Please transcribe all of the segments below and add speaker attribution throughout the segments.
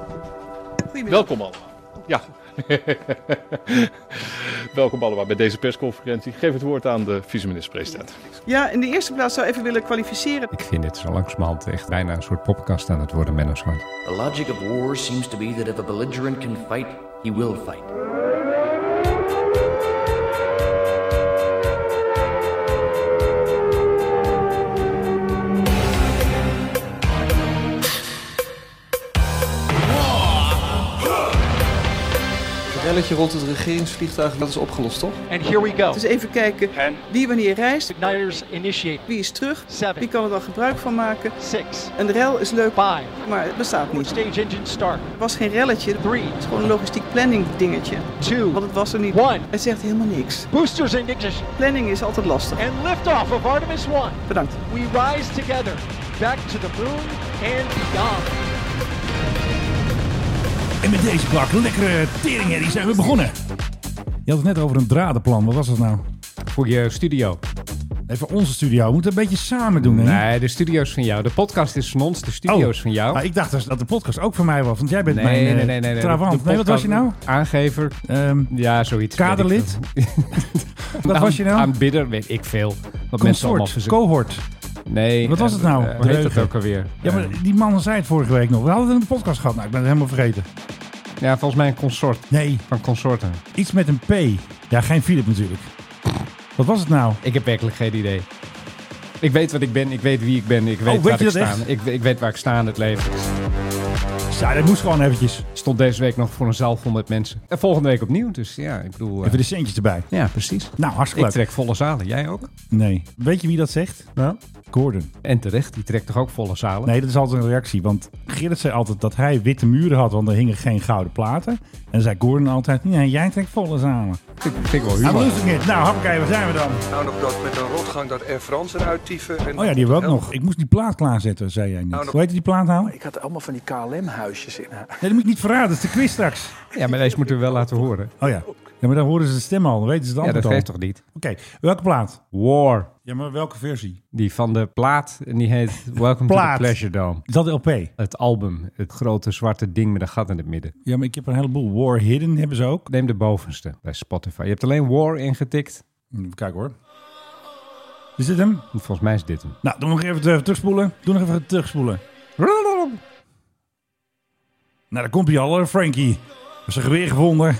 Speaker 1: Goedemiddag.
Speaker 2: Welkom allemaal. Ja. Welkom allemaal bij deze persconferentie. Ik geef het woord aan de vice-minister-president.
Speaker 1: Ja, in de eerste plaats zou ik even willen kwalificeren.
Speaker 3: Ik vind dit zo langzamerhand echt bijna een soort poppenkast aan het worden, Menno Zwart.
Speaker 4: The logic of war seems to be that if a belligerent can fight, he will fight.
Speaker 5: Het relletje rond het regeringsvliegtuig, dat is opgelost, toch?
Speaker 6: And here we go.
Speaker 1: Dus even kijken wie wanneer reist,
Speaker 6: Igniters initiate.
Speaker 1: wie is terug,
Speaker 6: Seven.
Speaker 1: wie kan er dan gebruik van maken.
Speaker 6: Six.
Speaker 1: Een rel is leuk,
Speaker 6: Five.
Speaker 1: maar het bestaat niet.
Speaker 6: Stage engine start.
Speaker 1: Het was geen relletje, het
Speaker 6: Three.
Speaker 1: is gewoon een logistiek planning dingetje. Want
Speaker 6: Two.
Speaker 1: het was er niet.
Speaker 6: One.
Speaker 1: Het zegt helemaal niks.
Speaker 6: Boosters in ignition.
Speaker 1: Planning is altijd lastig.
Speaker 6: And liftoff of Artemis 1.
Speaker 1: Bedankt.
Speaker 6: We rise together. Back to the moon and beyond.
Speaker 7: En met deze bak lekkere teringherrie zijn we begonnen. Je had het net over een dradenplan. Wat was dat nou?
Speaker 3: Voor je studio.
Speaker 7: Even onze studio. We moeten een beetje samen doen. Hè?
Speaker 3: Nee, de studio's van jou. De podcast is van ons, de studio's
Speaker 7: Oh,
Speaker 3: van jou.
Speaker 7: Maar ik dacht dus dat de podcast ook van mij was. Want jij bent
Speaker 3: Nee,
Speaker 7: mijn
Speaker 3: nee,
Speaker 7: eh,
Speaker 3: nee, nee, nee. de-
Speaker 7: travant.
Speaker 3: de
Speaker 7: nee, wat was je nou?
Speaker 3: podcast- Aangever.
Speaker 7: Ehm,
Speaker 3: Ja, zoiets.
Speaker 7: Kaderlid? wat was je nou?
Speaker 3: Aanbidder, weet ik veel. Wat mensen allemaal
Speaker 7: Consort.
Speaker 3: verzoeken.
Speaker 7: Cohort.
Speaker 3: Nee.
Speaker 7: Wat was het
Speaker 3: eh,
Speaker 7: nou?
Speaker 3: eh, Hoe heet dat
Speaker 7: Dreugen.
Speaker 3: ook alweer? Eh,
Speaker 7: Ja, maar die man zei het vorige week nog. We hadden het in de podcast gehad. Nou, ik ben het helemaal vergeten.
Speaker 3: Eh, ja, volgens mij een consort.
Speaker 7: Nee,
Speaker 3: Van consorten.
Speaker 7: iets met een P. Ja, geen Philip natuurlijk. Wat was het nou?
Speaker 3: Ik heb werkelijk geen idee. Ik weet wat ik ben, ik weet wie ik ben, ik weet
Speaker 7: Oh, weet
Speaker 3: waar
Speaker 7: je
Speaker 3: ik
Speaker 7: dat
Speaker 3: sta.
Speaker 7: echt?
Speaker 3: Ik, ik weet waar ik sta in het leven.
Speaker 7: Ja, dat moest gewoon eventjes.
Speaker 3: Ik stond deze week nog voor een zaal vol met mensen. En volgende week opnieuw, dus ja, ik bedoel... eh,
Speaker 7: Even de centjes erbij.
Speaker 3: Ja, precies.
Speaker 7: Nou, hartstikke
Speaker 3: Ik
Speaker 7: leuk.
Speaker 3: trek volle zalen, jij ook?
Speaker 7: Nee. Weet je wie dat zegt?
Speaker 3: Nou.
Speaker 7: Gordon.
Speaker 3: En terecht, die trekt toch ook volle zalen?
Speaker 7: Nee, dat is altijd een reactie. Want Gerrit zei altijd dat hij witte muren had, want er hingen geen gouden platen. En dan zei Gordon altijd, nee, jij trekt volle samen.
Speaker 3: Vind, ik- vind ik wel
Speaker 7: I'm
Speaker 3: humor.
Speaker 7: losing it. Nou, hoppakee, waar zijn we dan?
Speaker 8: Nou nog dat met een rotgang dat Air France eruit tieven. En
Speaker 7: Oh ja, die hebben we ook nog. Ik moest die plaat klaarzetten, zei jij net. Hoe heette die plaat nou? Nee,
Speaker 9: Ik had allemaal van die KLM-huisjes in huis.
Speaker 7: dat moet ik niet verraden. Dat is de quiz straks.
Speaker 3: Ja, maar deze moeten we wel laten horen.
Speaker 7: Oh ja. Ja, maar dan horen ze de stem al. Dan weten ze het
Speaker 3: Ja,
Speaker 7: antwoord
Speaker 3: dat
Speaker 7: al.
Speaker 3: geeft toch niet?
Speaker 7: Oké, welke plaat?
Speaker 3: War,
Speaker 7: Ja, maar welke versie?
Speaker 3: die van de plaat, en die heet Welcome to
Speaker 7: Plaat.
Speaker 3: the Pleasure Dome.
Speaker 7: Is dat de LP?
Speaker 3: Het album, het grote zwarte ding met een gat in het midden.
Speaker 7: Ja, maar ik heb er een heleboel. War Hidden hebben ze ook.
Speaker 3: Neem de bovenste bij Spotify. Je hebt alleen War ingetikt.
Speaker 7: Even kijken Hm, hoor. Is dit hem?
Speaker 3: Volgens mij is dit hem.
Speaker 7: Nou, doe nog even terug- terugspoelen. Doe nog even terugspoelen. Nou, daar komt hij al, hoor, Frankie. Heeft zijn geweer gevonden.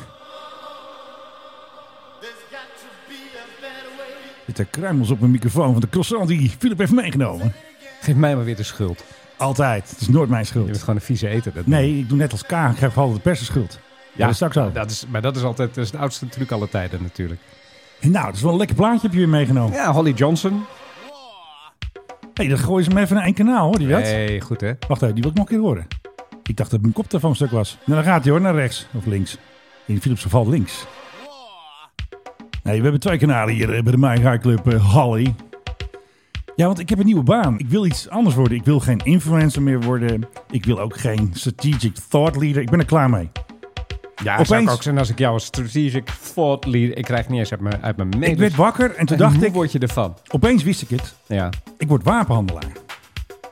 Speaker 7: Zit er kruimels op mijn microfoon van de croissant die Philip heeft meegenomen.
Speaker 3: Geef mij maar weer de schuld.
Speaker 7: Altijd. Het is nooit mijn
Speaker 3: Je bent
Speaker 7: schuld.
Speaker 3: gewoon een vieze eter. Dat
Speaker 7: Nee, ik doe net als K. Ik geef altijd de pers de schuld. Ja, dat is straks ook.
Speaker 3: Dat is, maar dat is altijd dat is de oudste truc alle tijden natuurlijk.
Speaker 7: Nou, dat is wel een lekker plaatje heb je weer meegenomen.
Speaker 3: Ja, Holly Johnson.
Speaker 7: hey, dan gooien ze hem even naar één kanaal, hoor. Die dat?
Speaker 3: hey, goed hè.
Speaker 7: Wacht even, die wil ik nog een keer horen. Ik dacht dat mijn koptelefoon stuk was. Nou, dan gaat hij hoor, naar rechts of links. In Philips geval links. Nee, we hebben twee kanalen hier eh, bij de Mijn High Club eh, Holly. Ja, want ik heb een nieuwe baan. Ik wil iets anders worden. Ik wil geen influencer meer worden. Ik wil ook geen strategic thought leader. Ik ben er klaar mee.
Speaker 3: Ja, zou ik
Speaker 7: Opeens-
Speaker 3: ook zijn als ik jou als strategic thought leader... Ik krijg het niet eens uit mijn, uit mijn
Speaker 7: Ik
Speaker 3: mening.
Speaker 7: werd wakker en toen
Speaker 3: dus- En
Speaker 7: dacht
Speaker 3: hoe
Speaker 7: ik,
Speaker 3: word je ervan?
Speaker 7: opeens wist ik het.
Speaker 3: Ja.
Speaker 7: Ik word wapenhandelaar.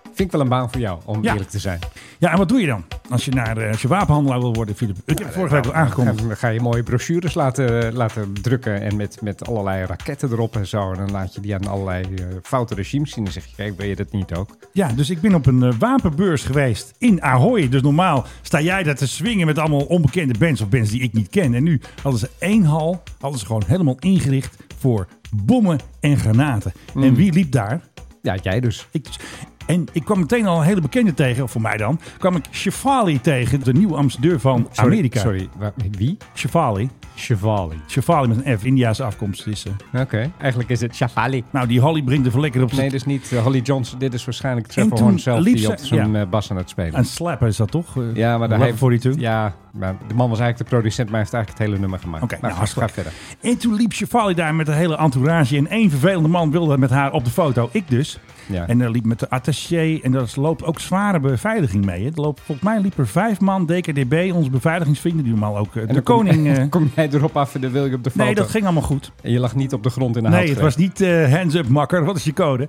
Speaker 3: Vind ik wel een baan voor jou, om
Speaker 7: Ja.
Speaker 3: eerlijk te zijn.
Speaker 7: Ja, en wat doe je dan? Als je, naar, eh, als je wapenhandelaar wil worden, Philip. Ik heb het vorige week al aangekondigd.
Speaker 3: Dan ga je mooie brochures laten, laten drukken en met, met allerlei raketten erop en zo. En dan laat je die aan allerlei eh, foute regimes zien. Dan zeg je, kijk, ben je dat niet ook?
Speaker 7: Ja, dus ik ben op een eh, wapenbeurs geweest in Ahoy. Dus normaal sta jij daar te swingen met allemaal onbekende bands of bands die ik niet ken. En nu hadden ze één hal, hadden ze gewoon helemaal ingericht voor bommen en granaten.
Speaker 3: Mm.
Speaker 7: En wie liep daar?
Speaker 3: Ja, jij dus.
Speaker 7: Ik dus. En ik kwam meteen al een hele bekende tegen, of voor mij dan, kwam ik Shefali tegen, de nieuwe ambassadeur van
Speaker 3: Sorry,
Speaker 7: Amerika.
Speaker 3: Sorry, wa- wie?
Speaker 7: Shefali.
Speaker 3: Chevali.
Speaker 7: Shefali met een F, India's afkomst is ze.
Speaker 3: Oké, eigenlijk is het Chevali.
Speaker 7: Nou, die Holly brengt er lekker op
Speaker 3: Nee,
Speaker 7: zijn...
Speaker 3: dit is niet eh, Holly Johnson. Dit is waarschijnlijk Trevor
Speaker 7: En toen
Speaker 3: Horn zelf
Speaker 7: liep
Speaker 3: die
Speaker 7: ze-
Speaker 3: op zijn
Speaker 7: ja.
Speaker 3: eh, bas aan het spelen.
Speaker 7: Een slapper is dat toch? Eh,
Speaker 3: ja, maar daar
Speaker 7: Level 42?
Speaker 3: Ja, maar de man was eigenlijk de producent, maar hij heeft eigenlijk het hele nummer gemaakt.
Speaker 7: Oké, nou,
Speaker 3: ga- ga
Speaker 7: hartstikke.
Speaker 3: verder.
Speaker 7: En toen liep Shefali daar met de hele entourage. En één vervelende man wilde met haar op de foto. Ik dus.
Speaker 3: Ja.
Speaker 7: En er liep met de attaché. En daar loopt ook zware beveiliging mee. Hè. Er loopt, volgens mij liep er vijf man DKDB, onze beveiligingsvrienden, die normaal ook. eh, de
Speaker 3: dan kom-
Speaker 7: koning. eh,
Speaker 3: Kom jij erop af en dan wil je op de foto.
Speaker 7: nee, dat ging allemaal goed.
Speaker 3: En je lag niet op de grond in de
Speaker 7: Nee, het
Speaker 3: houtgreep.
Speaker 7: was niet eh, hands up makker. Wat is je code?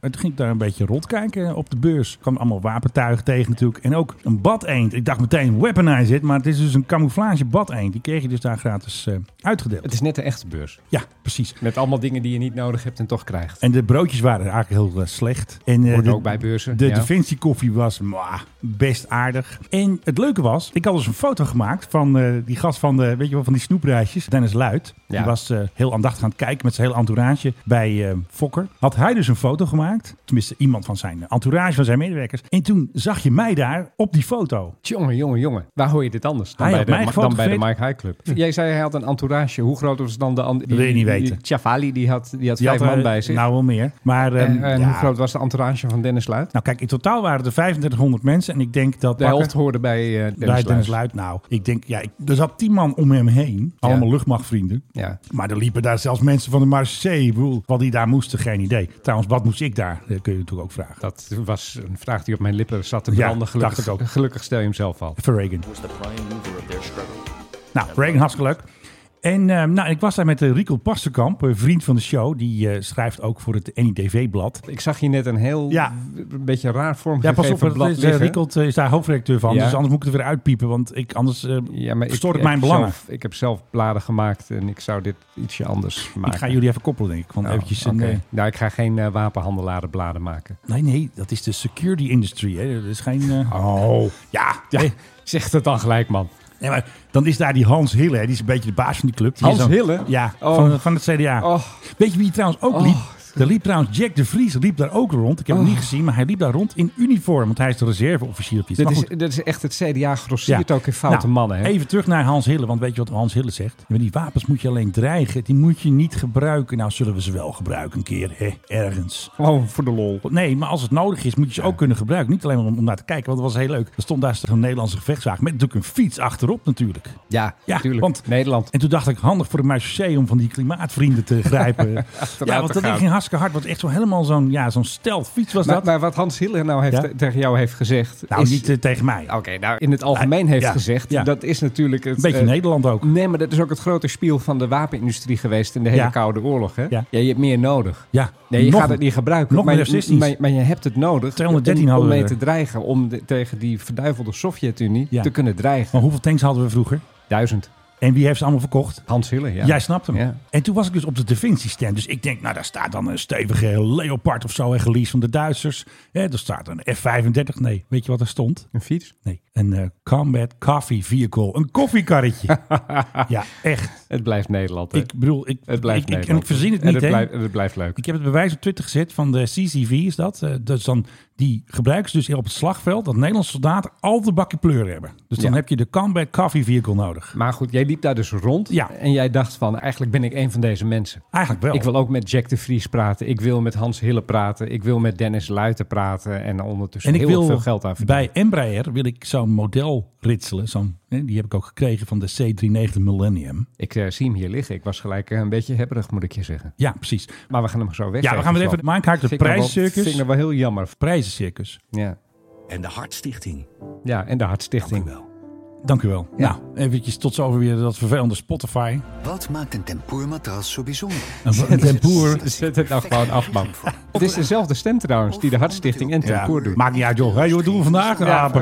Speaker 7: Maar toen ging ik daar een beetje rondkijken op de beurs. Ik kwam allemaal wapentuig tegen natuurlijk. En ook een badeend. Ik dacht meteen weaponize it. Maar het is dus een camouflage badeend. Die kreeg je dus daar gratis eh, uitgedeeld.
Speaker 3: Het is net een echte beurs.
Speaker 7: Ja, precies.
Speaker 3: Met allemaal dingen die je niet nodig hebt en toch krijgt.
Speaker 7: En de broodjes waren eigenlijk heel eh, slecht. En eh,
Speaker 3: Wordt
Speaker 7: de-
Speaker 3: ook bij beurzen.
Speaker 7: De
Speaker 3: ja.
Speaker 7: Da Vinci koffie was mwah, best aardig. En het leuke was, ik had dus een foto gemaakt van eh, die gast van, de, weet je wel, van die snoepreisjes, Dennis Luit.
Speaker 3: Ja.
Speaker 7: Die was eh, heel aandachtig aan het kijken met zijn hele entourage bij eh, Fokker. Had hij dus een foto gemaakt, tenminste iemand van zijn entourage, van zijn medewerkers. En toen zag je mij daar op die foto.
Speaker 3: Jongen, jongen, jongen. Waar hoor je dit anders dan,
Speaker 7: Hij
Speaker 3: bij
Speaker 7: had
Speaker 3: de,
Speaker 7: mij
Speaker 3: Ma- dan bij de
Speaker 7: gefotografeerd.
Speaker 3: Mike High Club? Jij zei hij had een entourage. Hoe groot was dan de... an- die-
Speaker 7: wil je niet
Speaker 3: die-
Speaker 7: weten.
Speaker 3: die Chavali, die had, die had
Speaker 7: Die
Speaker 3: vijf
Speaker 7: had,
Speaker 3: man
Speaker 7: eh,
Speaker 3: bij zich.
Speaker 7: Nou, wel meer. Maar
Speaker 3: en
Speaker 7: ehm,
Speaker 3: en
Speaker 7: ja.
Speaker 3: hoe groot was de entourage van Dennis Luit?
Speaker 7: Nou kijk, in totaal waren er 3500 mensen. En ik denk dat...
Speaker 3: De
Speaker 7: Bakker-
Speaker 3: helft hoorde bij eh, Dennis,
Speaker 7: Bij Dennis
Speaker 3: Luit.
Speaker 7: Luit, nou, ik denk, ja, ik, er zat tien man om hem heen. Allemaal
Speaker 3: Ja.
Speaker 7: luchtmachtvrienden.
Speaker 3: Ja.
Speaker 7: Maar er liepen daar zelfs mensen van de Marseille. Ik bedoel, Wat die daar moesten, geen idee. Trouwens, wat moest ik daar? Dat kun je natuurlijk ook vragen.
Speaker 3: Dat was een vraag die op mijn lippen zat te
Speaker 7: Ja,
Speaker 3: branden. gelukkig,
Speaker 7: dacht ik ook.
Speaker 3: gelukkig stel je hem zelf al.
Speaker 7: Voor Reagan.
Speaker 4: was the prime mover of their struggle.
Speaker 7: Nou, Reagan, hartstikke leuk. En eh, nou, ik was daar met eh, Rico Pasterkamp, een vriend van de show. Die eh, schrijft ook voor het NIDV-blad.
Speaker 3: Ik zag hier net een heel
Speaker 7: Ja.
Speaker 3: een beetje raar
Speaker 7: Ja,
Speaker 3: vormgegeven
Speaker 7: pas op,
Speaker 3: blad
Speaker 7: dat is, eh,
Speaker 3: liggen.
Speaker 7: Rico eh, is daar hoofdredacteur van.
Speaker 3: Ja.
Speaker 7: Dus anders moet ik het weer uitpiepen, want ik, anders eh,
Speaker 3: Ja, maar
Speaker 7: verstoor ik
Speaker 3: heb
Speaker 7: mijn belangen.
Speaker 3: zelf- ik heb zelf bladen gemaakt en ik zou dit ietsje anders maken.
Speaker 7: ik ga jullie even koppelen, denk ik. Want
Speaker 3: Oh,
Speaker 7: eventjes een,
Speaker 3: oké.
Speaker 7: eh,
Speaker 3: Nou, ik ga geen eh, wapenhandelaren bladen maken.
Speaker 7: nee, nee, dat is de security industry. Hè. Dat is geen... eh,
Speaker 3: Oh.
Speaker 7: Ja,
Speaker 3: Ja,
Speaker 7: hè.
Speaker 3: zeg het dan gelijk, man.
Speaker 7: Nee, maar dan is daar die Hans Hille, hè, die is een beetje de baas van die club. Die
Speaker 3: Hans
Speaker 7: is dan-
Speaker 3: Hille?
Speaker 7: Ja,
Speaker 3: Oh.
Speaker 7: van, van het CDA.
Speaker 3: Oh.
Speaker 7: Weet je wie trouwens ook liep? Er liep trouwens Jack de Vries, liep daar ook rond. Ik heb
Speaker 3: Oh.
Speaker 7: hem niet gezien, maar hij liep daar rond in uniform. Want hij is de reserveofficier op iets.
Speaker 3: Dit
Speaker 7: Maar
Speaker 3: is,
Speaker 7: goed,
Speaker 3: dit is echt het CDA grosseert ook in foute
Speaker 7: Nou,
Speaker 3: mannen. Hè?
Speaker 7: Even terug naar Hans Hille, want weet je wat Hans Hille zegt? Ja, maar die wapens moet je alleen dreigen, die moet je niet gebruiken. Nou, zullen we ze wel gebruiken een keer, hè? ergens.
Speaker 3: Gewoon voor de lol.
Speaker 7: Nee, maar als het nodig is, moet je ze ook kunnen gebruiken. Niet alleen maar om, om naar te kijken, want dat was heel leuk. Er stond daar een Nederlandse gevechtswagen met natuurlijk een fiets achterop natuurlijk.
Speaker 3: Ja,
Speaker 7: Ja,
Speaker 3: natuurlijk.
Speaker 7: want-
Speaker 3: Nederland.
Speaker 7: En toen dacht ik, handig voor de Marseille om van die klimaatvrienden te grijpen. ja, want
Speaker 3: te
Speaker 7: dat
Speaker 3: gaan.
Speaker 7: ding ging hartstikke hard. Want echt zo helemaal zo'n ja, zo'n stelt fiets was
Speaker 3: Maar,
Speaker 7: dat.
Speaker 3: maar wat Hans Hiller nou heeft,
Speaker 7: Ja?
Speaker 3: tegen jou heeft gezegd...
Speaker 7: nou,
Speaker 3: is,
Speaker 7: niet eh, tegen mij.
Speaker 3: Oké, nou, in het algemeen heeft
Speaker 7: Ja,
Speaker 3: gezegd...
Speaker 7: ja.
Speaker 3: dat is natuurlijk het...
Speaker 7: Een beetje
Speaker 3: eh,
Speaker 7: Nederland ook.
Speaker 3: Nee, maar dat is ook het grote spiel van de wapenindustrie geweest in de hele
Speaker 7: Ja.
Speaker 3: Koude Oorlog. Hè?
Speaker 7: Ja.
Speaker 3: Ja. je hebt meer nodig.
Speaker 7: Ja,
Speaker 3: Nee, je
Speaker 7: nog-
Speaker 3: gaat het niet gebruiken.
Speaker 7: nog
Speaker 3: maar,
Speaker 7: meer
Speaker 3: je-
Speaker 7: F-16's.
Speaker 3: maar, maar je hebt het nodig
Speaker 7: 213
Speaker 3: om, om
Speaker 7: hadden we
Speaker 3: mee
Speaker 7: er.
Speaker 3: te dreigen. Om de- tegen die verduivelde Sovjet-Unie
Speaker 7: Ja.
Speaker 3: te kunnen dreigen.
Speaker 7: Maar hoeveel tanks hadden we vroeger?
Speaker 3: Duizend.
Speaker 7: En wie heeft ze allemaal verkocht?
Speaker 3: Hans Hille, ja.
Speaker 7: Jij snapt hem.
Speaker 3: Ja.
Speaker 7: En toen was ik dus op de Da Vinci stand. Dus ik denk, nou daar staat dan een stevige Leopard of zo. En geleased van de Duitsers. Hè, er staat een F-35. Nee, weet je wat er stond?
Speaker 3: Een fiets.
Speaker 7: Nee, een eh, Combat Coffee Vehicle. Een koffiekarretje. ja, echt.
Speaker 3: Het blijft Nederland. hè.
Speaker 7: Ik bedoel, ik,
Speaker 3: het blijft
Speaker 7: ik, ik-
Speaker 3: Nederland.
Speaker 7: en ik verzin het
Speaker 3: En
Speaker 7: niet.
Speaker 3: het
Speaker 7: hè.
Speaker 3: blijft, en het blijft leuk.
Speaker 7: Ik heb het bewijs op Twitter gezet van de CCV is dat. Eh, dus dan, die gebruiken ze dus op het slagveld dat Nederlandse soldaten al de bakje pleur hebben. Dus dan
Speaker 3: Ja.
Speaker 7: heb je de combat coffee vehicle nodig.
Speaker 3: Maar goed, jij liep daar dus rond.
Speaker 7: Ja.
Speaker 3: En jij dacht van, eigenlijk ben ik een van deze mensen.
Speaker 7: Eigenlijk wel.
Speaker 3: Ik wil ook met Jack de Vries praten. Ik wil met Hans Hille praten. Ik wil met Dennis Luiten praten. En ondertussen
Speaker 7: en ik
Speaker 3: heel
Speaker 7: wil
Speaker 3: veel geld aan verdienen.
Speaker 7: bij Embraer wil ik zo'n model ritselen. Zo'n, hè, die heb ik ook gekregen van de C390 Millennium.
Speaker 3: Ik eh, zie hem hier liggen. Ik was gelijk eh, een beetje hebberig, moet ik je zeggen.
Speaker 7: Ja, precies.
Speaker 3: Maar we gaan hem zo weg.
Speaker 7: Ja, we gaan weer even Mike Haak de
Speaker 3: Vind ik
Speaker 7: prijscircus.
Speaker 3: nou wel heel jammer.
Speaker 7: Prijzencircus.
Speaker 3: Ja,
Speaker 10: En de Hartstichting.
Speaker 3: ja en de
Speaker 10: Dank u
Speaker 3: Hartstichting.
Speaker 10: wel.
Speaker 7: Dank u wel.
Speaker 3: Ja.
Speaker 7: Nou, eventjes tot zover weer dat vervelende Spotify.
Speaker 10: Wat maakt een tempoermatras zo bijzonder?
Speaker 7: Een tempoer.
Speaker 3: Zet het nou gewoon af, man. Het is dezelfde stem trouwens die de Hartstichting en
Speaker 7: Ja,
Speaker 3: Tempoer doet.
Speaker 7: maakt niet uit joh. Hey, joh, doen we vandaag?
Speaker 3: eh,
Speaker 7: Ah,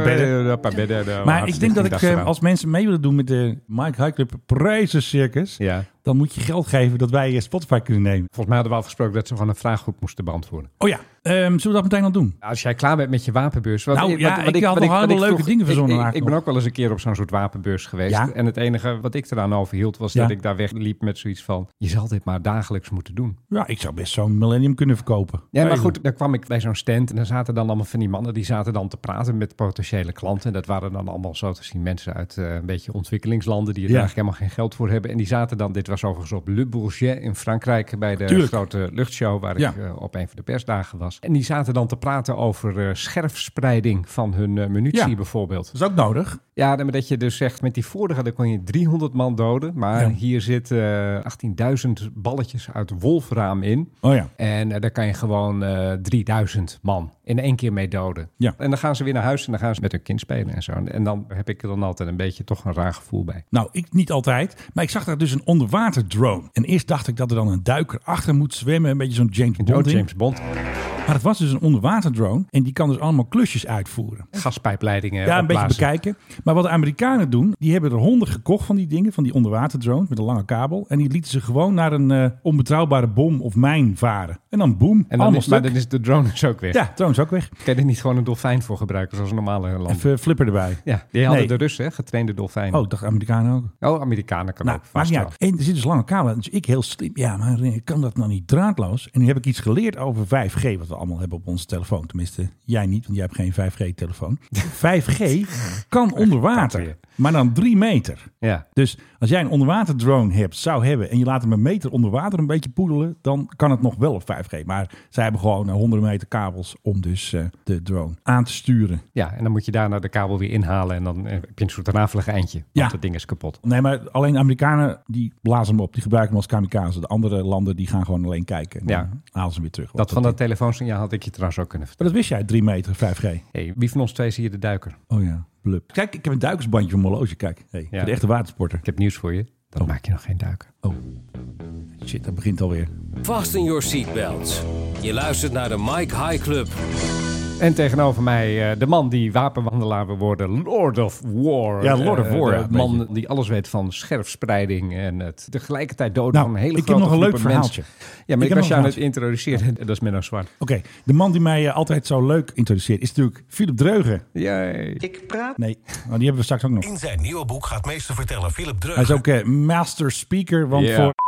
Speaker 7: paar bedden. Maar ik denk dat ik, eh, als mensen mee willen doen met de Mike High Club Prijzen Circus,
Speaker 3: Ja.
Speaker 7: dan moet je geld geven dat wij eh, Spotify kunnen nemen.
Speaker 3: Volgens mij hadden we afgesproken dat ze gewoon een vraaggroep moesten beantwoorden.
Speaker 7: Oh ja, ehm, zullen we dat meteen al doen?
Speaker 3: Als jij klaar bent met je wapenbeurs. Wat
Speaker 7: Nou, ja, ik had nog
Speaker 3: wat
Speaker 7: allemaal leuke
Speaker 3: vroeg-
Speaker 7: dingen verzonnen
Speaker 3: Ik, ik, ik ben
Speaker 7: eigenlijk
Speaker 3: ook wel eens een keer op zo'n soort wapenbeurs geweest.
Speaker 7: Ja.
Speaker 3: En het enige wat ik eraan overhield was
Speaker 7: Ja.
Speaker 3: dat ik daar wegliep met zoiets van... Je zal dit maar dagelijks moeten doen.
Speaker 7: Ja, ik zou best zo'n Millennium kunnen verkopen.
Speaker 3: Ja, maar
Speaker 7: Even.
Speaker 3: goed, dan kwam ik bij zo'n stand en daar zaten dan allemaal van die mannen die zaten dan te praten met potentiële klanten. Dat waren dan allemaal zo te zien mensen uit eh, een beetje ontwikkelingslanden die er
Speaker 7: Ja.
Speaker 3: eigenlijk helemaal geen geld voor hebben. En die zaten dan, dit was was overigens op Le Bourget in Frankrijk bij de
Speaker 7: Tuurlijk.
Speaker 3: grote luchtshow waar
Speaker 7: Ja.
Speaker 3: ik eh, op een van de persdagen was. En die zaten dan te praten over eh, scherfspreiding van hun eh, munitie
Speaker 7: Ja.
Speaker 3: bijvoorbeeld.
Speaker 7: Dat is ook nodig.
Speaker 3: Ja, dan dat je dus zegt, met die vorige dan kon je 300 man doden. Maar
Speaker 7: Ja.
Speaker 3: hier zitten eh, 18.000 balletjes uit wolfraam in.
Speaker 7: Oh ja.
Speaker 3: En eh, daar kan je gewoon eh, 3000 man in één keer mee doden.
Speaker 7: Ja.
Speaker 3: En dan gaan ze weer naar huis en dan gaan ze met hun kind spelen en zo. En- En dan heb ik er dan altijd een beetje toch een raar gevoel bij.
Speaker 7: Nou, ik niet altijd. Maar ik zag daar dus een onderwater drone. En eerst dacht ik dat er dan een duiker achter moet zwemmen. Een beetje zo'n James Bond
Speaker 3: Oh,
Speaker 7: ding.
Speaker 3: James Bond.
Speaker 7: Maar het was dus een onderwater drone. En die kan dus allemaal klusjes uitvoeren.
Speaker 3: Gaspijpleidingen
Speaker 7: Ja, een beetje
Speaker 3: opblazen.
Speaker 7: bekijken. Maar wat de Amerikanen doen, die hebben er honderd gekocht van die dingen, van die onderwaterdrone met een lange kabel. En die lieten ze gewoon naar een eh, onbetrouwbare bom of mijn varen. En dan boem,
Speaker 3: En dan
Speaker 7: allemaal
Speaker 3: is, maar
Speaker 7: stuk.
Speaker 3: dan is de drone dus ook weg.
Speaker 7: Ja, trouwens ook weg.
Speaker 3: Kan je er niet gewoon een dolfijn voor gebruiken zoals een normale land?
Speaker 7: Even eh, flipper erbij.
Speaker 3: Ja, die hadden
Speaker 7: Nee.
Speaker 3: de Russen, hè, getrainde dolfijnen.
Speaker 7: Oh, ik dacht Amerikanen ook.
Speaker 3: Oh, Amerikanen kan
Speaker 7: Nou,
Speaker 3: ook.
Speaker 7: maakt
Speaker 3: Vast
Speaker 7: niet
Speaker 3: wel.
Speaker 7: uit. En er zit dus lange kabel. Dus ik heel slim. Ja, maar eh, kan dat nou niet draadloos? En nu heb ik iets geleerd over 5G, wat we allemaal hebben op onze telefoon. Tenminste, jij niet, want jij hebt geen 5G-telefoon. 5G kan onder water,
Speaker 3: weer.
Speaker 7: maar dan drie meter.
Speaker 3: Ja.
Speaker 7: Dus als jij een onderwaterdrone hebt, zou hebben... en je laat hem een meter onder water een beetje poedelen... dan kan het nog wel op 5G. Maar zij hebben gewoon eh, honderden meter kabels... om dus eh, de drone aan te sturen.
Speaker 3: ja, en dan moet je daarna de kabel weer inhalen en dan eh, heb je een soort rafelig eindje. Want
Speaker 7: Ja.
Speaker 3: dat ding is kapot.
Speaker 7: Nee, maar alleen de Amerikanen die blazen hem op. Die gebruiken hem als kamikaze. De andere landen die gaan gewoon alleen kijken. En
Speaker 3: Ja.
Speaker 7: dan halen ze hem weer terug.
Speaker 3: Dat van dat
Speaker 7: dat...
Speaker 3: telefoonsignaal had ik je trouwens ook kunnen vertellen.
Speaker 7: Maar dat wist jij, 3 meter, 5G.
Speaker 3: Hey, wie van ons twee is hier de duiker?
Speaker 7: Oh ja, blub. Kijk, ik heb een duikersbandje van mijn horloge. Kijk, hey,
Speaker 3: Ja.
Speaker 7: voor de echte watersporter.
Speaker 3: Ik heb nieuws voor je. Dan
Speaker 7: Oh.
Speaker 3: maak je nog geen duiker.
Speaker 7: Shit, dat begint alweer.
Speaker 11: Fasten your seatbelts. Je luistert naar de Mike High Club.
Speaker 3: En tegenover mij eh, de man die wapenwandelaar wil worden. Lord of War.
Speaker 7: Ja, Lord of
Speaker 3: Eh,
Speaker 7: War,
Speaker 3: de
Speaker 7: ja, een
Speaker 3: man die alles weet van scherfspreiding en het tegelijkertijd doden
Speaker 7: Nou,
Speaker 3: van een hele
Speaker 7: ik heb
Speaker 3: grote
Speaker 7: nog een leuk
Speaker 3: groepen mensen.
Speaker 7: verhaaltje.
Speaker 3: Ja, maar
Speaker 7: Ik
Speaker 3: ik,
Speaker 7: heb nog
Speaker 3: was je
Speaker 7: een
Speaker 3: aan het introduceren. en Dat is Menno Zwart.
Speaker 7: Oké, de man die mij eh, altijd zo leuk introduceert... is natuurlijk Philip Dreugen.
Speaker 3: Yay.
Speaker 1: Ik praat
Speaker 7: Nee, oh, die hebben we straks ook nog.
Speaker 11: In zijn nieuwe boek gaat meester vertellen Philip Dreugen.
Speaker 7: Hij is ook eh, master speaker, want
Speaker 3: Ja.
Speaker 7: voor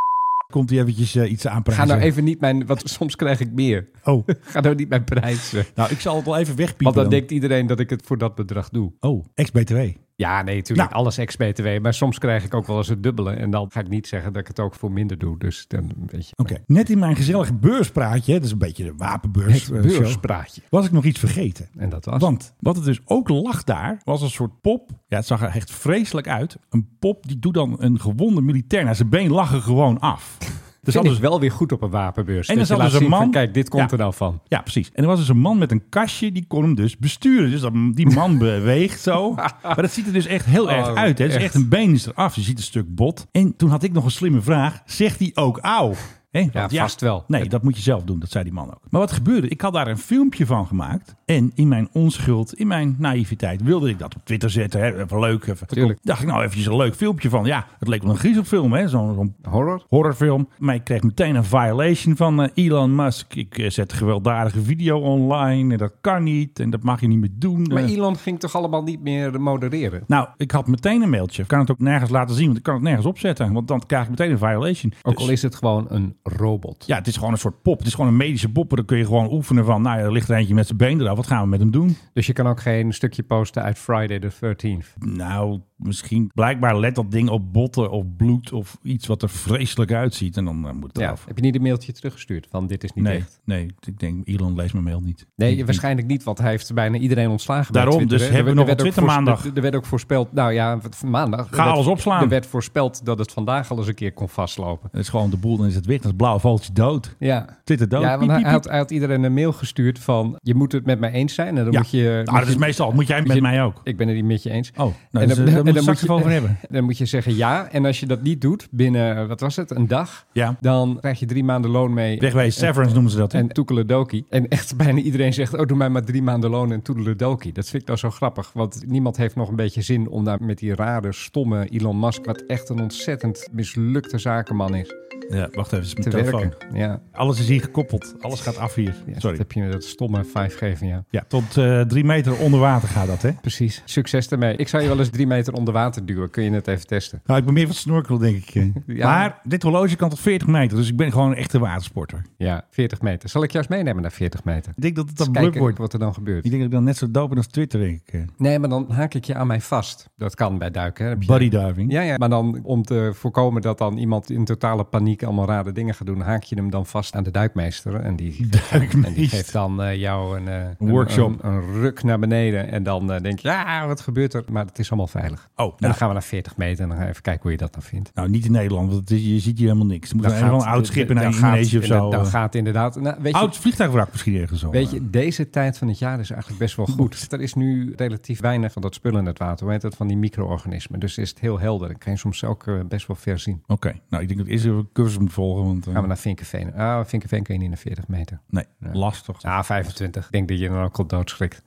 Speaker 7: komt hij eventjes eh, iets
Speaker 3: Ga
Speaker 7: aanprijzen.
Speaker 3: nou even niet mijn... Want soms krijg ik meer.
Speaker 7: Oh,
Speaker 3: Ga nou niet mijn prijzen.
Speaker 7: nou, ik zal het wel even wegpiepen.
Speaker 3: Want dan
Speaker 7: dan.
Speaker 3: denkt iedereen dat ik het voor dat bedrag doe.
Speaker 7: Oh, ex-BTW.
Speaker 3: Ja, nee, natuurlijk.
Speaker 7: Nou.
Speaker 3: Alles ex-BTW. Maar soms krijg ik ook wel eens het dubbele. En dan ga ik niet zeggen dat ik het ook voor minder doe. Dus dan weet je.
Speaker 7: Oké, net in mijn gezellige beurspraatje, dat is een beetje de wapenbeurs,
Speaker 3: Het
Speaker 7: eh, show,
Speaker 3: beurspraatje.
Speaker 7: was ik nog iets vergeten.
Speaker 3: En dat was.
Speaker 7: Want wat het dus ook lag daar, was een soort pop. Ja, het zag er echt vreselijk uit. Een pop die doet dan een gewonde militair naar zijn been lachen gewoon af.
Speaker 3: Dus
Speaker 7: Dus
Speaker 3: dat is
Speaker 7: anders,
Speaker 3: wel weer goed op een wapenbeurs. dat
Speaker 7: En dan
Speaker 3: je
Speaker 7: zat
Speaker 3: laat
Speaker 7: dus een
Speaker 3: zien van,
Speaker 7: man-
Speaker 3: kijk, dit komt
Speaker 7: Ja.
Speaker 3: er nou van.
Speaker 7: ja, precies. En er was dus een man met een kastje, die kon hem dus besturen. Dus dat, die man beweegt zo. Maar dat ziet er dus echt heel erg
Speaker 3: Oh,
Speaker 7: uit. Hè. Dus
Speaker 3: echt.
Speaker 7: echt een been is eraf. Je ziet een stuk bot. En toen had ik nog een slimme vraag. Zegt hij ook auw? Hè, want
Speaker 3: vast wel.
Speaker 7: Nee, dat moet je zelf doen. Dat zei die man ook. Maar wat gebeurde? Ik had daar een filmpje van gemaakt. En in mijn onschuld, in mijn naïviteit, wilde ik dat op Twitter zetten. Hè, even leuk. Even.
Speaker 3: Tuurlijk.
Speaker 7: Dacht ik nou eventjes een leuk filmpje van. Ja, het leek wel een griezelfilm. hè, Zo'n zo'n
Speaker 3: Horror?
Speaker 7: horrorfilm. Maar ik kreeg meteen een violation van eh, Elon Musk. Ik eh, zet gewelddadige video online. En dat kan niet. En dat mag je niet meer doen.
Speaker 3: Maar
Speaker 7: Eh,
Speaker 3: Elon ging toch allemaal niet meer modereren?
Speaker 7: nou, ik had meteen een mailtje. Ik kan het ook nergens laten zien, want ik kan het nergens opzetten. Want dan krijg ik meteen een violation.
Speaker 3: Ook
Speaker 7: Dus-
Speaker 3: al is het gewoon een robot.
Speaker 7: Ja, het is gewoon een soort pop. Het is gewoon een medische pop. Daar kun je gewoon oefenen van. Nou, ja, er ligt er eentje met zijn been eraf. Wat gaan we met hem doen?
Speaker 3: Dus je kan ook geen stukje posten uit Friday the 13th.
Speaker 7: Nou, misschien. Blijkbaar let dat ding op botten of bloed of iets wat er vreselijk uitziet. En dan eh, moet het
Speaker 3: Ja.
Speaker 7: eraf.
Speaker 3: Heb je niet een mailtje teruggestuurd van dit is niet
Speaker 7: Nee,
Speaker 3: echt?
Speaker 7: nee, ik denk Elon leest mijn mail niet.
Speaker 3: Nee,
Speaker 7: Ik-
Speaker 3: waarschijnlijk niet, want hij heeft bijna iedereen ontslagen. bij
Speaker 7: Daarom,
Speaker 3: Twitter,
Speaker 7: dus
Speaker 3: hè.
Speaker 7: hebben we
Speaker 3: Er-
Speaker 7: nog
Speaker 3: er
Speaker 7: een
Speaker 3: werd ook voorspe-
Speaker 7: Twittermaandag.
Speaker 3: Er werd ook voorspeld, nou ja, wat- maandag.
Speaker 7: Ga
Speaker 3: Er werd-
Speaker 7: alles opslaan.
Speaker 3: Er werd voorspeld dat het vandaag al eens een keer kon vastlopen.
Speaker 7: Het is gewoon de boel, dan is het wit. Dat is blauw vogeltje dood.
Speaker 3: Ja.
Speaker 7: Twitter dood.
Speaker 3: Ja, want
Speaker 7: Piep,
Speaker 3: hij,
Speaker 7: piep,
Speaker 3: hij had,
Speaker 7: piep.
Speaker 3: hij had iedereen een mail gestuurd van... je moet het met mij eens zijn en dan
Speaker 7: Ja.
Speaker 3: moet je...
Speaker 7: Nou,
Speaker 3: moet
Speaker 7: dat is
Speaker 3: je-
Speaker 7: meestal. Moet jij
Speaker 3: moet
Speaker 7: met
Speaker 3: je-
Speaker 7: mij ook?
Speaker 3: Ik ben het niet met je eens.
Speaker 7: Oh, nou, dus, eh, daar moeten we het straks even over hebben.
Speaker 3: Dan moet je zeggen ja. En als je dat niet doet binnen, eh, wat was het, een dag...
Speaker 7: Ja.
Speaker 3: dan krijg je drie maanden loon mee
Speaker 7: Wegwezen, severance noemen ze dat. hè?
Speaker 3: en toekeledokie. En echt bijna iedereen zegt, oh, doe mij maar drie maanden loon en toekeledokie. Dat vind ik nou zo grappig, want niemand heeft nog een beetje zin... om daar met die rare, stomme Elon Musk... wat echt een ontzettend mislukte zakenman is.
Speaker 7: Ja, wacht even.
Speaker 3: te
Speaker 7: telefoon.
Speaker 3: werken. Ja.
Speaker 7: Alles is hier gekoppeld. Alles gaat af hier. Sorry.
Speaker 3: Dat heb je met dat stomme 5G van jou.
Speaker 7: Ja, tot eh, drie meter onder water gaat dat, hè?
Speaker 3: Precies. Succes ermee. Ik zou je wel eens drie meter onder water duwen. Kun je het even testen?
Speaker 7: Nou, ik ben meer van snorkelen, denk ik. eh.
Speaker 3: Ja.
Speaker 7: Maar dit horloge kan tot 40 meter, dus ik ben gewoon een echte watersporter.
Speaker 3: Ja, 40 meter. Zal ik jou eens meenemen naar 40 meter?
Speaker 7: Ik denk dat het dan
Speaker 3: Eens
Speaker 7: leuk
Speaker 3: kijken
Speaker 7: wordt.
Speaker 3: wat er dan gebeurt.
Speaker 7: Ik denk dat ik dan net zo dood ben als Twitter, denk ik. eh.
Speaker 3: Nee, maar dan haak ik je aan mij vast. Dat kan bij duiken. hè. Heb je-
Speaker 7: Bodydiving.
Speaker 3: Ja, ja, maar dan om te voorkomen dat dan iemand in totale paniek allemaal rare dingen gaat doen, haak je hem dan vast aan de duikmeester. En die, en die geeft
Speaker 7: Duikmeester.
Speaker 3: dan eh, jou een, eh, een-
Speaker 7: workshop.
Speaker 3: Een, een ruk naar beneden. En dan eh, denk je, ja, wat gebeurt er? Maar het is allemaal veilig. En
Speaker 7: Oh,
Speaker 3: dan
Speaker 7: nou,
Speaker 3: gaan we naar 40 meter en dan gaan we even kijken hoe je dat dan vindt.
Speaker 7: nou, niet in Nederland, want het is- je ziet hier helemaal niks. Er moet
Speaker 3: Dan
Speaker 7: een, wel een
Speaker 3: gaat-
Speaker 7: oud schip in
Speaker 3: dan gaat-
Speaker 7: Indonesië of zo.
Speaker 3: Dan
Speaker 7: eh.
Speaker 3: gaat inderdaad... Nou, weet je,
Speaker 7: Oud vliegtuigwrak misschien ergens al. eh.
Speaker 3: Weet je, deze tijd van het jaar is eigenlijk best wel goed. Er is nu relatief weinig van dat spul in het water. Hoe heet dat? Van die micro-organismen. Dus is het heel helder. Ik kan je soms ook eh, best wel ver zien.
Speaker 7: Oké, nou ik denk dat eerst even een cursus moet volgen, want eh,
Speaker 3: Gaan we naar Vinkenveen. Ah, Vinkenveen kun je niet naar 40 meter.
Speaker 7: nee, lastig.
Speaker 3: Ah, 25. Ik denk dat je dan ook al doodschrikt.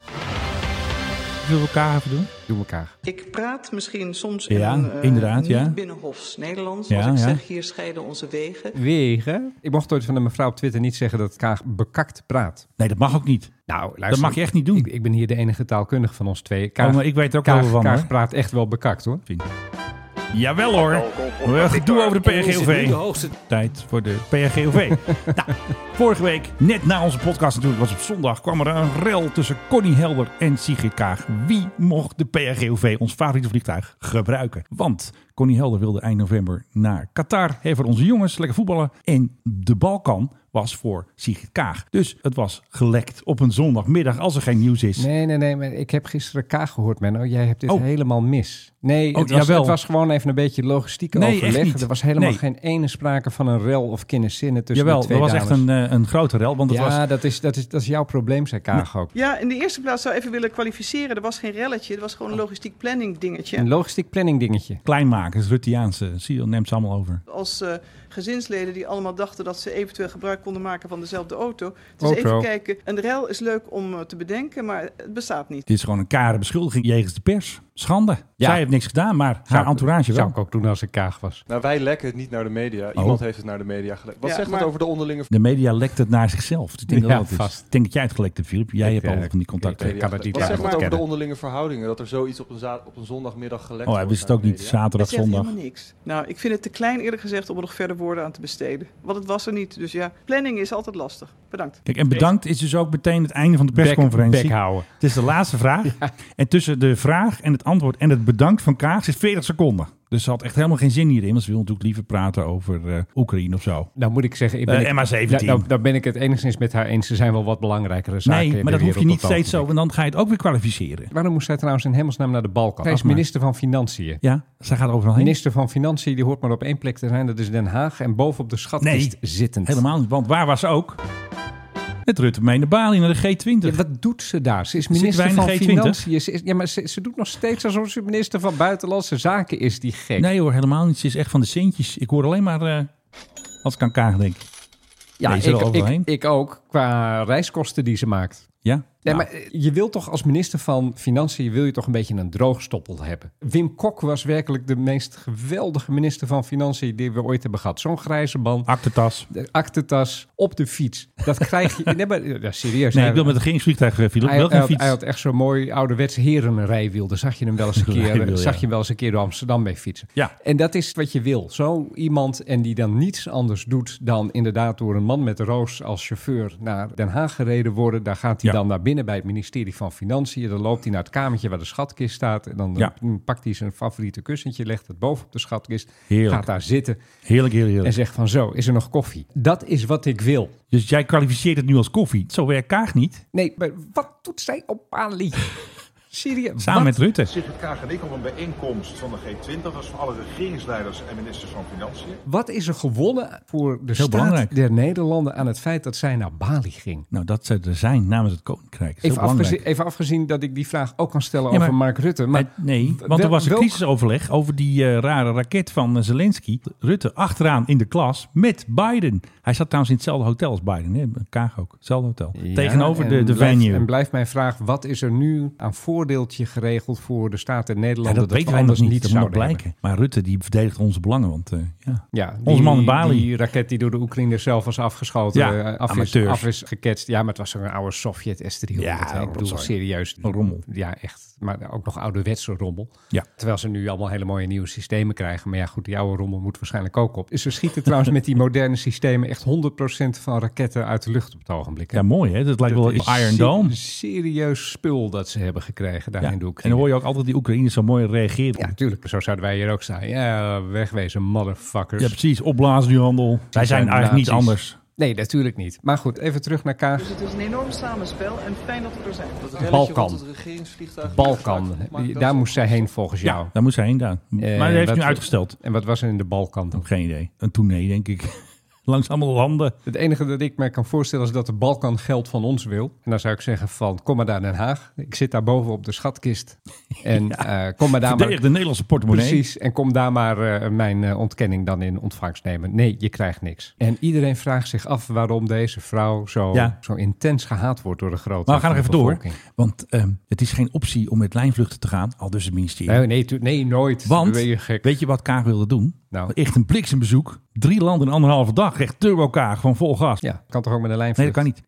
Speaker 7: Zullen we elkaar even doen?
Speaker 3: Doe elkaar.
Speaker 1: Ik praat misschien soms
Speaker 7: Ja,
Speaker 1: in een, eh,
Speaker 7: inderdaad, ja.
Speaker 1: niet binnenhofs Nederlands.
Speaker 7: Ja,
Speaker 1: als ik
Speaker 7: ja.
Speaker 1: zeg, hier scheiden onze wegen.
Speaker 3: Wegen. Ik mocht ooit van een mevrouw op Twitter niet zeggen dat Kaag bekakt praat.
Speaker 7: Nee, dat mag ook niet.
Speaker 3: Nou, luister.
Speaker 7: Dat mag je echt niet doen.
Speaker 3: Ik, ik ben hier de enige taalkundige van ons twee. Kaag,
Speaker 7: Oh, maar ik weet er ook
Speaker 3: Kaag-
Speaker 7: wel van,
Speaker 3: Kaag
Speaker 7: hoor.
Speaker 3: praat echt wel bekakt, hoor.
Speaker 7: Jawel hoor. We gedoe over de PRGOV. Tijd voor de PRGOV. nou, vorige week, net na onze podcast natuurlijk, was op zondag, kwam er een rel tussen Connie Helder en Sigrid Kaag. Wie mocht de PRGOV, ons favoriete vliegtuig, gebruiken? Want Connie Helder wilde eind november naar Qatar. Even onze jongens, lekker voetballen. En de Balkan was voor Sigrid Kaag. Dus het was gelekt op een zondagmiddag, als er geen nieuws is.
Speaker 3: Nee, nee, nee. Maar ik heb gisteren Kaag gehoord, Menno. Jij hebt dit
Speaker 7: Oh.
Speaker 3: helemaal mis. Nee,
Speaker 7: Oh,
Speaker 3: het, was,
Speaker 7: jawel.
Speaker 3: het was gewoon even een beetje logistiek
Speaker 7: Nee, echt
Speaker 3: overleg.
Speaker 7: niet.
Speaker 3: Er was helemaal
Speaker 7: Nee.
Speaker 3: geen ene sprake van een rel of kinderzinnen tussen
Speaker 7: Jawel,
Speaker 3: de dus twee
Speaker 7: dat was
Speaker 3: dames.
Speaker 7: echt een, eh, een grote rel, want het
Speaker 3: ja,
Speaker 7: was...
Speaker 3: dat, is, dat, is, dat is jouw probleem, zei Kaag ook.
Speaker 1: Ja, in de eerste plaats zou ik even willen kwalificeren. Er was geen relletje, er was gewoon een
Speaker 7: Oh.
Speaker 1: logistiek planning dingetje.
Speaker 3: Een logistiek planning dingetje.
Speaker 7: Klein maken, het is Ruttiaanse. Zie je, neemt ze allemaal over.
Speaker 1: Als eh, gezinsleden die allemaal dachten dat ze eventueel gebruik konden maken van dezelfde auto. Dus
Speaker 3: Auto.
Speaker 1: even kijken. Een rel is leuk om eh, te bedenken, maar het bestaat niet.
Speaker 7: Dit is gewoon een kare beschuldiging jegens de pers. Schande.
Speaker 3: Ja.
Speaker 7: Zij heeft niks gedaan, maar haar
Speaker 3: Zou-
Speaker 7: entourage wel.
Speaker 3: Zou ik ook doen als ik Kaag was.
Speaker 5: Nou, wij lekken het niet naar de media.
Speaker 7: Oh.
Speaker 5: Iemand heeft het naar de media gelekt. Wat
Speaker 1: Ja,
Speaker 5: zegt
Speaker 1: maar-
Speaker 5: dat over de onderlinge...
Speaker 7: De media lekt het naar zichzelf. Dus ik denk
Speaker 3: Ja,
Speaker 7: dat dat is.
Speaker 3: vast.
Speaker 7: Ik denk dat jij het gelekt hebt, Filip. Jij
Speaker 3: Ik,
Speaker 7: hebt
Speaker 3: eh,
Speaker 7: altijd van die contacten.
Speaker 3: ik- ik- kan dat niet
Speaker 5: Wat zegt dat over de
Speaker 3: ontkennen.
Speaker 5: onderlinge verhoudingen? Dat er zoiets op een, za- op een zondagmiddag gelekt
Speaker 7: oh, hij
Speaker 5: wordt
Speaker 7: wist het
Speaker 5: naar
Speaker 7: ook
Speaker 5: de
Speaker 7: niet.
Speaker 5: media?
Speaker 7: Zaterdag,
Speaker 1: Het zegt
Speaker 7: zondag.
Speaker 1: helemaal niks. Nou, ik vind het te klein eerlijk gezegd om er nog verder woorden aan te besteden. Want het was er niet. Dus ja, planning is altijd lastig. Bedankt.
Speaker 7: Kijk, en bedankt is dus ook meteen het einde van de persconferentie.
Speaker 3: Bek houden.
Speaker 7: Het is de laatste vraag. En tussen de vraag en het antwoord en het bedankt van Kaag zit 40 seconden. Dus ze had echt helemaal geen zin hierin. Want ze wil natuurlijk liever praten over eh, Oekraïne of zo.
Speaker 3: Nou moet ik zeggen, ik
Speaker 7: Eh,
Speaker 3: ben ik,
Speaker 7: MH17.
Speaker 3: Nou, nou, nou ben ik het enigszins met haar eens. Er zijn wel wat belangrijkere zaken in
Speaker 7: Nee, maar
Speaker 3: de
Speaker 7: dat hoef je
Speaker 3: wereld
Speaker 7: niet
Speaker 3: op het
Speaker 7: steeds zo. Want dan ga je het ook weer kwalificeren.
Speaker 3: Waarom moest zij trouwens in hemelsnaam naar de Balkan? Zij is
Speaker 7: Ach, maar.
Speaker 3: minister van Financiën.
Speaker 7: Ja, zij gaat overal heen.
Speaker 3: Minister van Financiën, die hoort maar op één plek te zijn. Dat is Den Haag. En bovenop de schatkist
Speaker 7: Nee,
Speaker 3: zittend.
Speaker 7: Helemaal niet, want waar was ze ook? Met Rutte mee naar Bali, naar de G20.
Speaker 3: Ja, wat doet ze daar? Ze is
Speaker 7: Zitten
Speaker 3: minister
Speaker 7: wij
Speaker 3: van
Speaker 7: in de G20?
Speaker 3: Financiën. Ze, is- ja, maar ze, ze doet nog steeds alsof ze minister van Buitenlandse Zaken is. Die gek.
Speaker 7: nee hoor, helemaal niet. Ze is echt van de centjes. Ik hoor alleen maar... eh als ik aan Kaag denk.
Speaker 3: ja,
Speaker 7: nee, ze wil
Speaker 3: ik,
Speaker 7: overheen.
Speaker 3: ik, ik ook. Qua reiskosten die ze maakt.
Speaker 7: Ja?
Speaker 3: Nee,
Speaker 7: Nou,
Speaker 3: maar eh, je wilt toch als minister van Financiën wil je toch een beetje een droogstoppel hebben. Wim Kok was werkelijk de meest geweldige minister van Financiën die we ooit hebben gehad. Zo'n grijze man,
Speaker 7: Aktentas.
Speaker 3: de aktentas op de fiets. Dat krijg je. Nee, maar eh, ja, serieus.
Speaker 7: Nee,
Speaker 3: Hij-
Speaker 7: ik wil met een regeringsvliegtuig, eh, Philip. Ik
Speaker 3: Hij, hij
Speaker 7: wil geen
Speaker 3: had,
Speaker 7: fiets.
Speaker 3: hij had echt zo'n mooi ouderwetse herenrijwiel. Daar zag je hem wel eens een keer, eh,
Speaker 7: Rijwiel, ja.
Speaker 3: zag je hem wel eens een keer door Amsterdam mee fietsen.
Speaker 7: Ja.
Speaker 3: En dat is wat je wil. Zo iemand en die dan niets anders doet dan inderdaad door een man met een roos als chauffeur naar Den Haag gereden worden. Daar gaat hij
Speaker 7: Ja.
Speaker 3: dan naar binnen bij het ministerie van Financiën. Dan loopt hij naar het kamertje waar de schatkist staat. En dan
Speaker 7: Ja.
Speaker 3: eh, pakt hij zijn favoriete kussentje, legt het boven op de schatkist.
Speaker 7: Heerlijk.
Speaker 3: Gaat daar zitten
Speaker 7: Heerlijk, heerlijk,
Speaker 3: en
Speaker 7: heerlijk.
Speaker 3: zegt van zo, is er nog koffie? Dat is wat ik wil.
Speaker 7: Dus jij kwalificeert het nu als koffie. Zo werkt Kaag niet.
Speaker 3: Nee, maar wat doet zij op Bali? Serieus?
Speaker 7: Samen
Speaker 3: wat?
Speaker 7: met Rutte.
Speaker 12: Sigrid Kaag en ik op een bijeenkomst van de G20. Dat was van alle regeringsleiders en ministers van Financiën.
Speaker 3: Wat is er gewonnen voor de
Speaker 7: Heel
Speaker 3: staat
Speaker 7: belangrijk.
Speaker 3: der Nederlanden aan het feit dat zij naar Bali ging?
Speaker 7: Nou, dat ze er zijn namens het Koninkrijk. Dat is
Speaker 3: Even
Speaker 7: heel belangrijk.
Speaker 3: afgezien, even afgezien dat ik die vraag ook kan stellen
Speaker 7: Ja, maar-
Speaker 3: over Mark Rutte. Maar
Speaker 7: Eh, nee, nee, want
Speaker 3: wel-
Speaker 7: er was een
Speaker 3: welk-
Speaker 7: crisisoverleg over die eh, rare raket van eh, Zelensky. Rutte achteraan in de klas met Biden. Hij zat trouwens in hetzelfde hotel als Biden. Hè? Kaag ook, hetzelfde hotel.
Speaker 3: Ja,
Speaker 7: Tegenover de,
Speaker 3: en
Speaker 7: de
Speaker 3: blijft-
Speaker 7: venue.
Speaker 3: En blijft mijn vraag, wat is er nu aan voordeeltje geregeld voor de staat en
Speaker 7: Ja,
Speaker 3: Nederland.
Speaker 7: dat weten wij nog
Speaker 3: anders
Speaker 7: niet. dat moet nog
Speaker 3: zouden
Speaker 7: blijken.
Speaker 3: hebben.
Speaker 7: Maar Rutte die verdedigt onze belangen. Want eh, ja.
Speaker 3: Ja,
Speaker 7: Onze
Speaker 3: die-
Speaker 7: man in Bali.
Speaker 3: Die raket die door de Oekraïners zelf was afgeschoten.
Speaker 7: Ja,
Speaker 3: eh, af, is,
Speaker 7: amateurs.
Speaker 3: af is geketst. Ja, maar het was zo'n oude Sovjet S-300.
Speaker 7: Ja,
Speaker 3: hè. ik bedoel,
Speaker 7: rotzooi.
Speaker 3: serieus. rommel. Ja, echt. Maar ook nog ouderwetse rommel.
Speaker 7: Ja.
Speaker 3: Terwijl ze nu allemaal hele mooie nieuwe systemen krijgen. Maar ja, goed, die oude rommel moet waarschijnlijk ook op. Ze schieten trouwens met die moderne systemen echt 100% van raketten uit de lucht op het ogenblik. hè.
Speaker 7: Ja, mooi hè. Dat lijkt wel
Speaker 3: is
Speaker 7: op Iron
Speaker 3: se-
Speaker 7: Dome.
Speaker 3: serieus spul dat ze hebben gekregen daar
Speaker 7: Ja.
Speaker 3: in de
Speaker 7: En
Speaker 3: Oekraïne.
Speaker 7: dan hoor je ook altijd die Oekraïners zo mooi reageren.
Speaker 3: Ja, natuurlijk. Zo zouden wij hier ook staan. Ja, wegwezen, motherfuckers.
Speaker 7: Ja, precies. Opblazen die handel. Wij zijn eigenlijk niet
Speaker 3: dus- nazi's.
Speaker 7: anders.
Speaker 3: Nee, natuurlijk niet. Maar goed, even terug naar Kaag.
Speaker 1: Dus het is een enorm samenspel en fijn dat we er zijn.
Speaker 3: Balkan.
Speaker 5: regeringsvliegtuig
Speaker 3: Balkan. Daar moest zij heen volgens jou.
Speaker 7: Daar moest hij heen gaan.
Speaker 3: Eh,
Speaker 7: maar hij heeft
Speaker 3: wat-
Speaker 7: nu uitgesteld.
Speaker 3: En wat was er in de Balkan?
Speaker 7: Heb geen idee. Een tournee, denk ik. Langs allemaal landen.
Speaker 3: Het enige dat ik mij kan voorstellen is dat de Balkan geld van ons wil. En dan zou ik zeggen van, kom maar naar Den Haag. Ik zit daar boven op de schatkist. En eh, kom maar daar
Speaker 7: Verdedig
Speaker 3: maar...
Speaker 7: de Nederlandse portemonnee.
Speaker 3: Precies, en kom daar maar eh, mijn eh, ontkenning dan in ontvangst nemen. Nee, je krijgt niks. En iedereen vraagt zich af waarom deze vrouw zo,
Speaker 7: Ja.
Speaker 3: zo intens gehaat wordt door de grote
Speaker 7: Maar we gaan nog even door.
Speaker 3: bevolking.
Speaker 7: Want ehm, het is geen optie om met lijnvluchten te gaan. Al dus het ministerie.
Speaker 3: Nee, nee, tu- nee, nooit.
Speaker 7: Want,
Speaker 3: Ben je gek?
Speaker 7: weet je wat Kaag wilde doen?
Speaker 3: Nou.
Speaker 7: Echt een bliksembezoek. Drie landen in anderhalve dag. Echt turbo Kaag. Gewoon vol gas.
Speaker 3: Ja, kan toch ook met een lijn
Speaker 7: Nee, dat kan niet.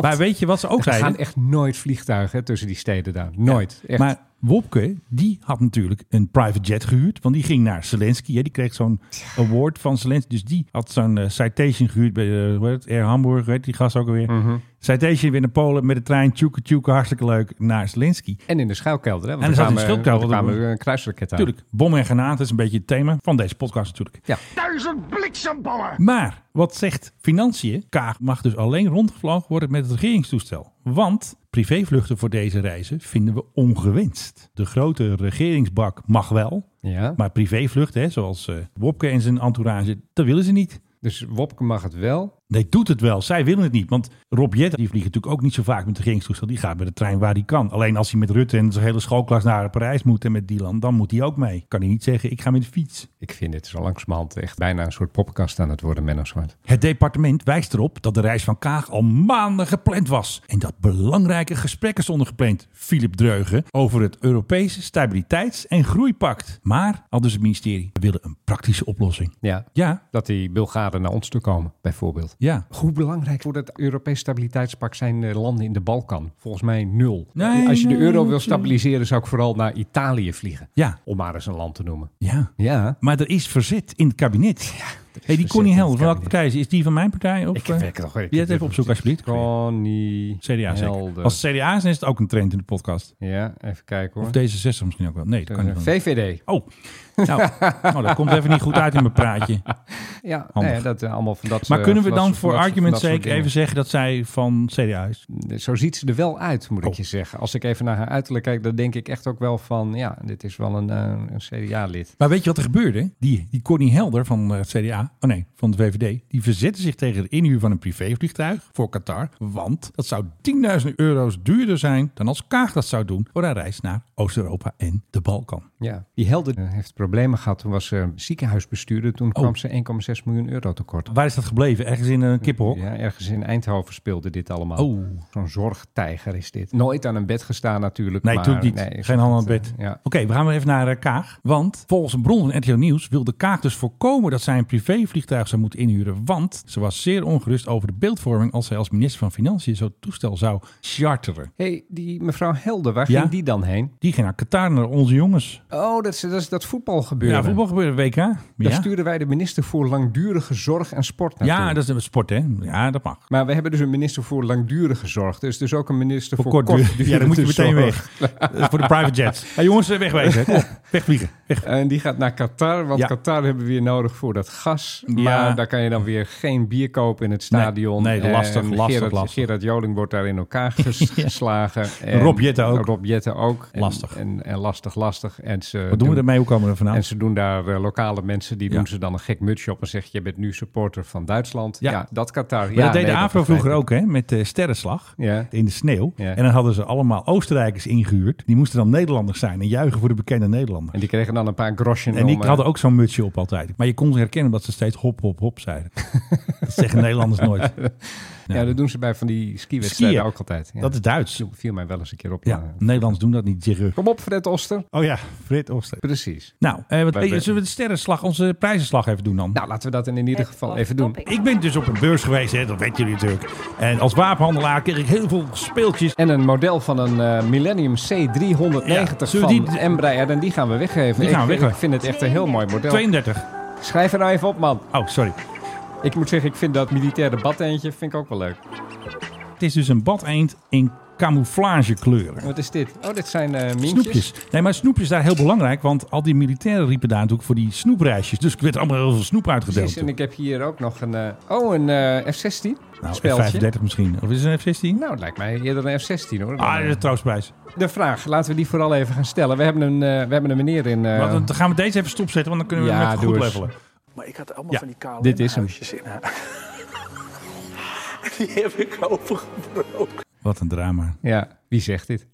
Speaker 7: Maar weet je wat ze ook
Speaker 3: Er
Speaker 7: zeiden?
Speaker 3: gaan echt nooit vliegtuigen hè, tussen die steden daar. Nooit. echt.
Speaker 7: Maar Wopke, die had natuurlijk een private jet gehuurd. Want die ging naar Zelensky. Hè? Die kreeg zo'n award van Zelensky. Dus die had zo'n eh, citation gehuurd bij de, hoe heet het, Air Hamburg. Weet die gast ook alweer.
Speaker 3: Mhm.
Speaker 7: Citation weer naar Polen met de trein. Tjoeke tjoeke, hartstikke leuk. Naar Zelensky.
Speaker 3: En in de schuilkelder. Hè, want
Speaker 7: En er
Speaker 3: er
Speaker 7: zat een
Speaker 3: kwamen-
Speaker 7: schuilkelder.
Speaker 3: Er kwamen een kruisraket aan.
Speaker 7: Natuurlijk, bommen en granaten is een beetje het thema van deze podcast natuurlijk.
Speaker 3: Ja.
Speaker 12: Duizend bliksemballen!
Speaker 7: Maar wat zegt Financiën? Kaag mag dus alleen rondgevlogen worden met het regeringstoestel. Want privévluchten voor deze reizen vinden we ongewenst. De grote regeringsbak mag wel,
Speaker 3: Ja.
Speaker 7: maar privévluchten, hè, zoals eh Wopke en zijn entourage, dat willen ze niet.
Speaker 3: Dus Wopke mag het wel.
Speaker 7: Nee, doet het wel. Zij willen het niet. Want Rob Jette, die vliegt natuurlijk ook niet zo vaak met het regeringstoestel. Die gaat met de trein waar hij kan. Alleen als hij met Rutte en zijn hele schoolklas naar Parijs moet en met Dylan, dan moet hij ook mee. Kan hij niet zeggen, ik ga met de fiets.
Speaker 3: Ik vind dit zo langzamerhand echt bijna een soort poppenkast aan het worden, Menno Zwart.
Speaker 7: Het departement wijst erop dat de reis van Kaag al maanden gepland was. En dat belangrijke gesprekken stonden gepland, Philip Dreugen, over het Europese Stabiliteits- en Groeipact. Maar, al dus het ministerie, we willen een praktische oplossing.
Speaker 3: Ja.
Speaker 7: Ja,
Speaker 3: Dat die Bulgaren naar ons toe komen, bijvoorbeeld.
Speaker 7: ja.
Speaker 3: Hoe belangrijk voor het Europees Stabiliteitspact zijn eh, landen in de Balkan? Volgens mij nul.
Speaker 7: Nee,
Speaker 3: Als je de
Speaker 7: nee,
Speaker 3: euro
Speaker 7: nee.
Speaker 3: wil stabiliseren, zou ik vooral naar Italië vliegen.
Speaker 7: Ja,
Speaker 3: Om maar eens een land te noemen.
Speaker 7: ja.
Speaker 3: Ja.
Speaker 7: Maar er is verzet in het kabinet. hey, die
Speaker 3: verzet
Speaker 7: Connie
Speaker 3: in
Speaker 7: Helder,
Speaker 3: het
Speaker 7: van
Speaker 3: kabinet.
Speaker 7: welke partij is die? Is die van mijn partij? Of,
Speaker 3: Ik
Speaker 7: eh,
Speaker 3: werk nog.
Speaker 7: die het even opzoeken, alsjeblieft.
Speaker 3: Connie
Speaker 7: CDA zeker.
Speaker 3: Helder.
Speaker 7: Als het CDA is, is het ook een trend in de podcast.
Speaker 3: Ja, even kijken hoor.
Speaker 7: Of D66 misschien ook wel. Nee, dat kan niet.
Speaker 3: Eh,
Speaker 7: wel.
Speaker 3: VVD.
Speaker 7: Oh, nou, nou, dat komt even niet goed uit in mijn praatje.
Speaker 3: Ja,
Speaker 7: Handig.
Speaker 3: nee, dat eh, allemaal van dat
Speaker 7: Maar
Speaker 3: eh,
Speaker 7: kunnen we
Speaker 3: van dat
Speaker 7: dan
Speaker 3: soort-
Speaker 7: voor
Speaker 3: van dat soort- van
Speaker 7: argument
Speaker 3: dat soort
Speaker 7: sake even
Speaker 3: dingen.
Speaker 7: zeggen dat zij van CDA is?
Speaker 3: Zo ziet ze er wel uit, moet ik
Speaker 7: Oh.
Speaker 3: je zeggen. Als ik even naar haar uiterlijk kijk, dan denk ik echt ook wel van... ja, dit is wel een, eh, een CDA-lid.
Speaker 7: Maar weet je wat er gebeurde? Die, die Connie Helder van eh, het CDA, oh nee, van de VVD, die verzette zich tegen de inhuur van een privévliegtuig voor Qatar. Want dat zou 10.000 euro's duurder zijn dan als Kaag dat zou doen voor haar reis naar Oost-Europa en de Balkan.
Speaker 3: Ja. Die helder eh, heeft problemen gehad. Toen was ze ziekenhuisbestuurder. Toen kwam ze 1,6 miljoen euro tekort.
Speaker 7: Waar is dat gebleven? Ergens in een kippenhok?
Speaker 3: Ja, ergens in Eindhoven speelde dit allemaal.
Speaker 7: Oh.
Speaker 3: Zo'n zorgtijger is dit. Nooit aan een bed gestaan natuurlijk.
Speaker 7: Nee,
Speaker 3: maar,
Speaker 7: natuurlijk niet.
Speaker 3: nee, is
Speaker 7: Geen
Speaker 3: dat,
Speaker 7: hand aan het
Speaker 3: eh,
Speaker 7: bed.
Speaker 3: ja.
Speaker 7: Oké, we gaan weer even naar eh, Kaag. Want volgens een bron van RTL Nieuws wilde Kaag dus voorkomen dat zij een privévliegtuig zou moeten inhuren. Want ze was zeer ongerust over de beeldvorming als zij als minister van Financiën zo'n toestel zou charteren.
Speaker 3: hey, die mevrouw Helder, waar
Speaker 7: Ja?
Speaker 3: ging die dan heen?
Speaker 7: Die ging naar Qatar, naar onze jongens.
Speaker 3: Oh, dat is dat, is dat voetbalgebeuren.
Speaker 7: Ja, voetbal gebeurde WK.
Speaker 3: Daar
Speaker 7: Ja,
Speaker 3: stuurden wij de minister voor langdurige zorg en sport naartoe.
Speaker 7: ja dat is een sport hè. Ja, dat mag.
Speaker 3: Maar we hebben dus een minister voor langdurige zorg. Dus dus ook een minister voor,
Speaker 7: kort
Speaker 3: kortdurige
Speaker 7: duur. Ja, dan moet je meteen
Speaker 3: zorg.
Speaker 7: weg. Dat is voor de private jets. Hé jongens, wegwezen. Kom, wegvliegen. Weg.
Speaker 3: En die gaat naar Qatar, want
Speaker 7: Ja.
Speaker 3: Qatar hebben we weer nodig voor dat gas. Maar
Speaker 7: Ja.
Speaker 3: daar kan je dan weer geen bier kopen in het stadion.
Speaker 7: Nee, nee, lastig,
Speaker 3: En
Speaker 7: lastig,
Speaker 3: Gerard,
Speaker 7: lastig.
Speaker 3: Gerard Joling wordt daar in elkaar ges- geslagen.
Speaker 7: Rob Jetten ook.
Speaker 3: Rob Jetten ook. En-
Speaker 7: Lastig.
Speaker 3: En, en lastig, lastig. En ze
Speaker 7: Wat doen we ermee? Hoe komen we er vanaf?
Speaker 3: En ze doen daar eh, lokale mensen, die
Speaker 7: Nou. Ja.
Speaker 3: doen ze dan een gek mutsje op en zeggen, je bent nu supporter van Duitsland.
Speaker 7: Ja.
Speaker 3: Ja, dat Qatar.
Speaker 7: Maar
Speaker 3: ja,
Speaker 7: dat deed
Speaker 3: nee,
Speaker 7: de AVRO
Speaker 3: begrijp
Speaker 7: vroeger
Speaker 3: ik.
Speaker 7: ook, hè? Met eh, sterrenslag
Speaker 3: Ja.
Speaker 7: in de sneeuw.
Speaker 3: Ja.
Speaker 7: En dan hadden ze allemaal Oostenrijkers ingehuurd. Die moesten dan Nederlanders zijn en juichen voor de bekende Nederlander.
Speaker 3: En die kregen dan een paar grosjes.
Speaker 7: En die
Speaker 3: om, eh,
Speaker 7: hadden ook zo'n mutsje op altijd. Maar je kon ze herkennen dat ze steeds hop, hop, hop zeiden. dat zeggen Nederlanders nooit.
Speaker 3: eh, Ja, dat doen ze bij van die skiwedstrijden
Speaker 7: Skiën.
Speaker 3: ook altijd. Ja.
Speaker 7: Dat is Duits.
Speaker 3: Viel- Viel mij wel eens een keer op.
Speaker 7: Ja,
Speaker 3: maar-
Speaker 7: Nederlands doen dat niet, Jerry.
Speaker 3: Kom op, Fred Oster.
Speaker 7: Oh ja, Frit Ooster.
Speaker 3: Precies.
Speaker 7: Nou, eh, wat,
Speaker 3: Bij-
Speaker 7: eh,
Speaker 3: bij-
Speaker 7: zullen we de sterrenslag, onze prijzenslag even doen dan?
Speaker 3: Nou, laten we dat in ieder geval even doen.
Speaker 7: Ik ben dus op een beurs geweest, hè, dat weten jullie natuurlijk. En als wapenhandelaar kreeg ik heel veel speeltjes.
Speaker 3: En een model van een eh, Millennium C390
Speaker 7: Ja, zullen
Speaker 3: van
Speaker 7: we
Speaker 3: die... Embraer. En die gaan we weggeven.
Speaker 7: Die
Speaker 3: ik,
Speaker 7: gaan we weggeven.
Speaker 3: ik vind het echt een heel mooi model.
Speaker 7: 32.
Speaker 3: Schrijf er nou even op, man.
Speaker 7: Oh, sorry.
Speaker 3: Ik moet zeggen, ik vind dat militaire badeentje vind ik ook wel leuk.
Speaker 7: Het is dus een badeend in camouflagekleuren.
Speaker 3: Wat is dit? Oh, dit zijn eh mientjes.
Speaker 7: Snoepjes. Nee, maar snoepjes daar heel belangrijk, want al die militairen riepen daar natuurlijk voor die snoepreisjes. Dus ik werd allemaal heel veel snoep uitgedeeld.
Speaker 3: Precies, en ik heb hier ook nog een... eh, oh, een eh, F-16
Speaker 7: Nou,
Speaker 3: speldje.
Speaker 7: F35 misschien. Of is het een F16?
Speaker 3: Nou, het lijkt mij eerder een F-16 hoor. Dan,
Speaker 7: Ah, dat
Speaker 3: eh,
Speaker 7: is een troostprijs.
Speaker 3: De vraag, laten we die vooral even gaan stellen. We hebben een, eh, we hebben een meneer in... eh,
Speaker 7: Maar dan dan gaan we deze even stopzetten, want dan kunnen we
Speaker 3: Ja,
Speaker 7: hem even
Speaker 3: doe
Speaker 7: goed
Speaker 3: eens.
Speaker 7: levelen.
Speaker 9: Maar ik had allemaal
Speaker 7: Ja,
Speaker 9: van die kale
Speaker 3: dit is hem.
Speaker 9: huisjes in haar. die heb ik opengebroken.
Speaker 7: Wat een drama.
Speaker 3: Ja, wie zegt dit?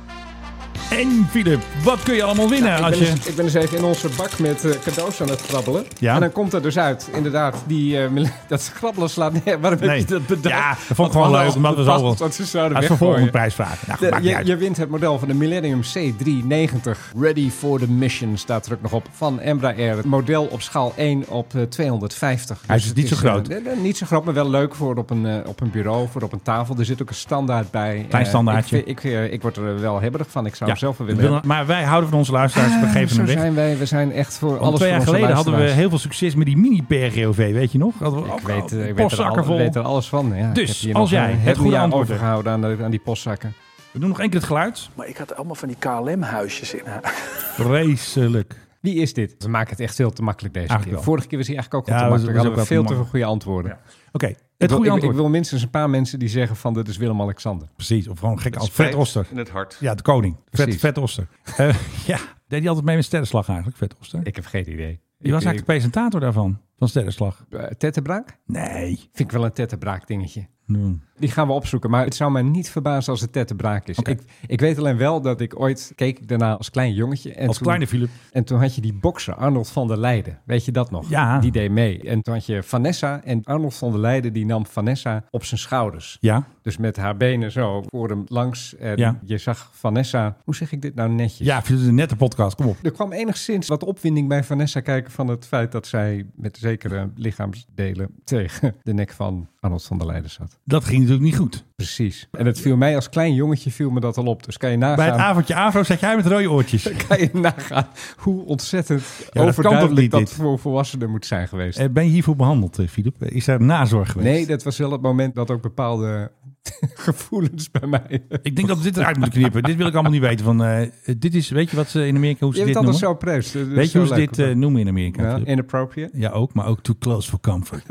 Speaker 7: En Filip, wat kun je allemaal winnen
Speaker 3: ik,
Speaker 7: als
Speaker 3: ben
Speaker 7: je...
Speaker 3: eens, ik ben eens even in onze bak met eh, cadeaus aan het krabbelen.
Speaker 7: Ja.
Speaker 3: En dan komt er dus uit, inderdaad, die, eh, mil- dat krabbelen slaat neer. Waarom
Speaker 7: Nee.
Speaker 3: heb je dat bedacht?
Speaker 7: Ja, dat vond ik gewoon leuk, omdat we zo wel-
Speaker 3: Dat ze zouden
Speaker 7: Als we
Speaker 3: weggooien.
Speaker 7: volgende prijsvraag. Nou, goed,
Speaker 3: De-
Speaker 7: maakt niet
Speaker 3: je,
Speaker 7: uit.
Speaker 3: je wint het model van de Millennium C390. Ready for the mission staat er ook nog op. Van Embraer. Het model op schaal 1 op eh, 250.
Speaker 7: Hij is
Speaker 3: het
Speaker 7: niet zo groot.
Speaker 3: eh, eh, niet zo groot, maar wel leuk voor op een, eh, op een bureau, voor op een tafel. Er zit ook een standaard bij.
Speaker 7: Klein
Speaker 3: Eh,
Speaker 7: standaardje.
Speaker 3: ik, vind- ik, eh, ik word er wel hebberig van. Ik zou
Speaker 7: Ja.
Speaker 3: hem zelf wel
Speaker 7: We
Speaker 3: willen
Speaker 7: willen-
Speaker 3: hebben.
Speaker 7: Maar wij houden van onze luisteraars, we geven
Speaker 3: Zo
Speaker 7: hem weg.
Speaker 3: zijn wij. We zijn echt voor
Speaker 7: Want
Speaker 3: alles
Speaker 7: twee jaar
Speaker 3: voor onze
Speaker 7: geleden hadden we
Speaker 3: luisteraars.
Speaker 7: heel veel succes met die mini-PRGOV, weet je nog? Hadden we ook
Speaker 3: Ik weet, eh, ik
Speaker 7: een
Speaker 3: weet, er,
Speaker 7: postzakken
Speaker 3: al,
Speaker 7: vol.
Speaker 3: weet er alles van. Ja,
Speaker 7: Dus,
Speaker 3: ik heb hier
Speaker 7: als
Speaker 3: nog
Speaker 7: jij
Speaker 3: een
Speaker 7: het
Speaker 3: heel
Speaker 7: goede
Speaker 3: jaar
Speaker 7: antwoord hebt.
Speaker 3: overgehouden aan, de- aan die postzakken.
Speaker 7: We doen nog één keer het geluid.
Speaker 9: Maar ik had allemaal van die KLM huisjes in haar.
Speaker 7: Vreselijk.
Speaker 3: Wie is dit? Ze maken het echt veel te makkelijk deze
Speaker 7: Eigenlijk
Speaker 3: keer.
Speaker 7: wel.
Speaker 3: Vorige keer was hij eigenlijk ook
Speaker 7: Ja,
Speaker 3: al te
Speaker 7: was-
Speaker 3: makkelijk.
Speaker 7: was
Speaker 3: Hadden we
Speaker 7: ook wel
Speaker 3: veel
Speaker 7: te
Speaker 3: te veel
Speaker 7: makkelijk.
Speaker 3: goede antwoorden.
Speaker 7: Oké,
Speaker 3: Ik wil-
Speaker 7: het goede
Speaker 3: ik, ik
Speaker 7: antwoord.
Speaker 3: wil minstens een paar mensen die zeggen van dit is Willem-Alexander.
Speaker 7: Precies, of gewoon gek als
Speaker 2: Spijt
Speaker 7: Fred Oster.
Speaker 2: In het hart.
Speaker 7: Ja, de koning. Vet,
Speaker 3: Precies.
Speaker 7: vet Oster. Eh, ja, deed hij altijd mee met Sterrenslag eigenlijk, Vet Oster?
Speaker 3: Ik heb geen idee.
Speaker 7: Die was
Speaker 3: Ik-
Speaker 7: eigenlijk de presentator daarvan, van Sterrenslag.
Speaker 3: ik- eh, tettebraak?
Speaker 7: Nee.
Speaker 3: Vind ik wel een tettebraak dingetje.
Speaker 7: Hmm.
Speaker 3: Die gaan we opzoeken, maar het zou mij niet verbazen als het tettebraak is. Ik, ik weet alleen wel dat ik ooit keek ik daarna als klein jongetje. En
Speaker 7: Als
Speaker 3: toen,
Speaker 7: kleine Philip.
Speaker 3: En toen had je die bokser Arnold van der Leijden. Weet je dat nog?
Speaker 7: Ja.
Speaker 3: Die deed mee. En toen had je Vanessa en Arnold van der Leijden die nam Vanessa op zijn schouders.
Speaker 7: Ja,
Speaker 3: Dus met haar benen zo voor hem langs. En
Speaker 7: Ja.
Speaker 3: je zag Vanessa. Hoe zeg ik dit nou netjes?
Speaker 7: ja Philip, een nette podcast, kom op.
Speaker 3: Er kwam enigszins wat opwinding bij Vanessa kijken van het feit dat zij met zekere lichaamsdelen tegen de nek van Arnold van der Leijden zat.
Speaker 7: Dat ging natuurlijk niet goed.
Speaker 3: Precies. En het viel mij als klein jongetje viel me dat al op. Dus kan je
Speaker 7: Bij het
Speaker 3: nagaan,
Speaker 7: avondje Avro zat jij met rode oortjes.
Speaker 3: kan je nagaan hoe ontzettend
Speaker 7: kan toch
Speaker 3: overduidelijk
Speaker 7: niet,
Speaker 3: dat,
Speaker 7: dit?
Speaker 3: voor volwassenen moet zijn geweest.
Speaker 7: Eh, ben je hiervoor behandeld, eh, Philip? Eh, Is daar nazorg geweest?
Speaker 3: Nee, dat was wel het moment dat ook bepaalde gevoelens bij mij...
Speaker 7: Ik denk dat we dit eruit moeten knippen. dit wil ik allemaal niet weten. Van, eh, dit is, weet je wat ze in Amerika hoe ze
Speaker 3: Je
Speaker 7: dit
Speaker 3: bent
Speaker 7: noemen?
Speaker 3: altijd zo preus. Dat is
Speaker 7: weet je
Speaker 3: zo
Speaker 7: hoe ze
Speaker 3: leuk,
Speaker 7: dit
Speaker 3: hoor.
Speaker 7: eh, noemen in Amerika?
Speaker 3: Ja,
Speaker 7: Philip?
Speaker 3: inappropriate?
Speaker 7: Ja, ook, maar ook too close for comfort.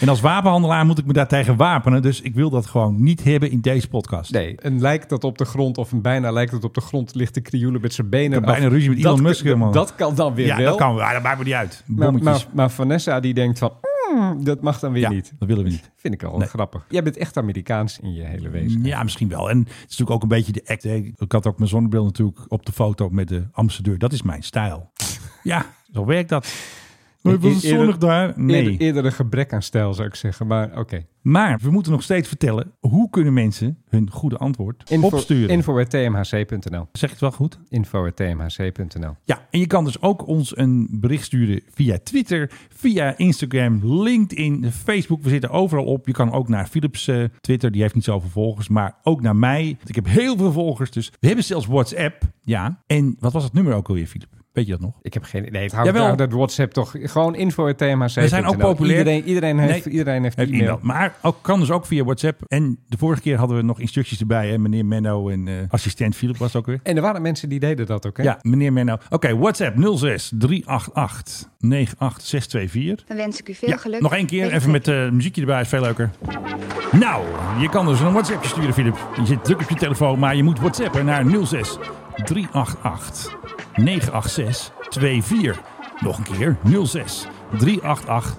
Speaker 7: en als wapenhandelaar moet ik me daartegen wapenen. Dus ik wil dat gewoon niet hebben in deze podcast.
Speaker 3: Nee, een lijk dat op de grond, of een bijna lijk dat op de grond ligt te krioelen met zijn benen.
Speaker 7: Ik heb bijna
Speaker 3: af.
Speaker 7: ruzie met Elon
Speaker 3: Dat-
Speaker 7: Musk, man.
Speaker 3: Dat kan dan weer
Speaker 7: ja,
Speaker 3: wel. Nou,
Speaker 7: dat kan. Ah, dat maakt me niet uit.
Speaker 3: Maar,
Speaker 7: Bommetjes.
Speaker 3: maar, maar Vanessa die denkt van, "Mm, dat mag dan weer
Speaker 7: ja,
Speaker 3: niet.
Speaker 7: dat willen we niet.
Speaker 3: Vind ik al
Speaker 7: Nee.
Speaker 3: grappig. Jij bent echt Amerikaans in je hele wezen.
Speaker 7: Ja, misschien wel. En het is natuurlijk ook een beetje de act. hè. Ik had ook mijn zonnebril natuurlijk op de foto met de ambassadeur. Dat is mijn stijl. ja, zo werkt dat. Maar het was
Speaker 3: E- Eerder-
Speaker 7: zonnig daar. Nee.
Speaker 3: Eerder, eerder een gebrek aan stijl zou ik zeggen, maar oké.
Speaker 7: Maar we moeten nog steeds vertellen hoe kunnen mensen hun goede antwoord
Speaker 3: Info-
Speaker 7: opsturen.
Speaker 3: Info.tmhc.nl
Speaker 7: Zeg ik het wel goed?
Speaker 3: Info.tmhc.nl
Speaker 7: Ja, en je kan dus ook ons een bericht sturen via Twitter, via Instagram, LinkedIn, Facebook. We zitten overal op. Je kan ook naar Philips eh, Twitter, die heeft niet zoveel volgers, maar ook naar mij. Want Ik heb heel veel volgers, dus we hebben zelfs WhatsApp. Ja, en wat was het nummer ook alweer, Philip? Weet je dat nog?
Speaker 3: Ik heb geen idee. Hou
Speaker 7: Jawel.
Speaker 3: hou dat WhatsApp toch. Gewoon info.tmhc.nl.
Speaker 7: We zijn ook populair.
Speaker 3: nou. Iedereen, iedereen heeft,
Speaker 7: Nee.
Speaker 3: iedereen heeft
Speaker 7: Heeft
Speaker 3: e-mail.
Speaker 7: e-mail. Maar ook, kan dus ook via WhatsApp. En de vorige keer hadden we nog instructies erbij. Hè? Meneer Menno en eh, assistent Philip was het ook weer.
Speaker 3: En er waren mensen die deden dat ook, hè?
Speaker 7: Ja, meneer Menno. Oké, WhatsApp 06 388 98624.
Speaker 13: Dan wens ik u veel
Speaker 7: Ja,
Speaker 13: geluk.
Speaker 7: Nog één keer,
Speaker 13: Weet
Speaker 7: even
Speaker 13: het.
Speaker 7: met eh muziekje erbij, is veel leuker. Nou, je kan dus een WhatsAppje sturen, Filip. Je zit druk op je telefoon, maar je moet WhatsAppen naar 06 388 986 24. Nog een keer, 06 388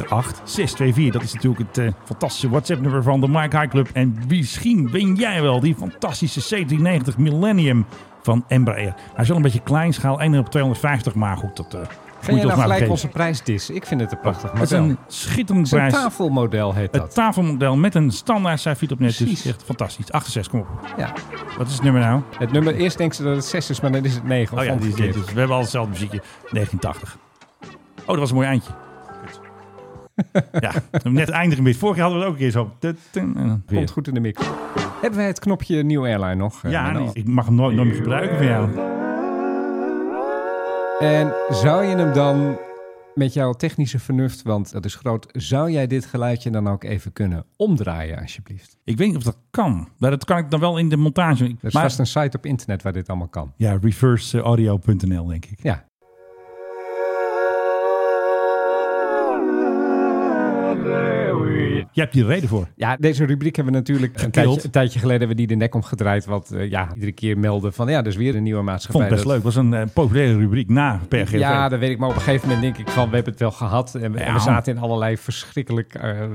Speaker 7: 98624. Dat is natuurlijk het eh, fantastische WhatsApp-nummer van de Mike High Club. En misschien ben jij wel die fantastische C390 Millennium van Embraer. Hij is wel een beetje klein, schaal 1 op 250, maar goed, dat eh,
Speaker 3: Ga je
Speaker 7: ons
Speaker 3: nou
Speaker 7: maar
Speaker 3: gelijk
Speaker 7: geven.
Speaker 3: onze prijs dissen? Ik vind het een prachtig model.
Speaker 7: Het is een schitterend
Speaker 3: Het is een
Speaker 7: prijs.
Speaker 3: tafelmodel heet
Speaker 7: Het
Speaker 3: dat.
Speaker 7: tafelmodel met een standaard cijfer op net. Dus
Speaker 3: Precies.
Speaker 7: echt fantastisch. 8 6, kom op.
Speaker 3: Ja.
Speaker 7: Wat is het nummer nou?
Speaker 3: Het nummer, eerst denken ze dat het 6 is, maar dan is het 9.
Speaker 7: Oh ja, die is dit. Dus we hebben al hetzelfde muziekje. 1980. Oh, dat was een mooi eindje. Kut. ja, net eindigen met. Vorig jaar hadden we het ook een keer zo. Tut, tut, en dan weer.
Speaker 3: Komt goed in de mix. Hebben wij het knopje New Airline nog? eh,
Speaker 7: Ja,
Speaker 3: Menno?
Speaker 7: nee, ik mag hem nooit, nooit meer gebruiken van jou.
Speaker 3: En zou je hem dan met jouw technische vernuft, want dat is groot, zou jij dit geluidje dan ook even kunnen omdraaien alsjeblieft?
Speaker 7: Ik weet niet of dat kan. Maar dat kan ik dan wel in de montage. Ik-
Speaker 3: Er is
Speaker 7: maar-
Speaker 3: vast een site op internet waar dit allemaal kan.
Speaker 7: Ja, reverseaudio.nl denk ik.
Speaker 3: Ja.
Speaker 7: Je hebt hier reden voor.
Speaker 3: Ja, deze rubriek hebben we natuurlijk een
Speaker 7: Gekild.
Speaker 3: tijdje, een tijdje geleden hebben we die de nek omgedraaid. Wat eh, ja, iedere keer melden van ja, dus weer een nieuwe
Speaker 7: Ik vond
Speaker 3: maatschappij.
Speaker 7: het best
Speaker 3: Dat-
Speaker 7: leuk. Het was een eh, populaire rubriek na PRGV.
Speaker 3: Ja, dat weet ik. Maar op een gegeven moment denk ik van, we hebben het wel gehad. En we, en we
Speaker 7: Ja.
Speaker 3: zaten in allerlei verschrikkelijk eh, eh,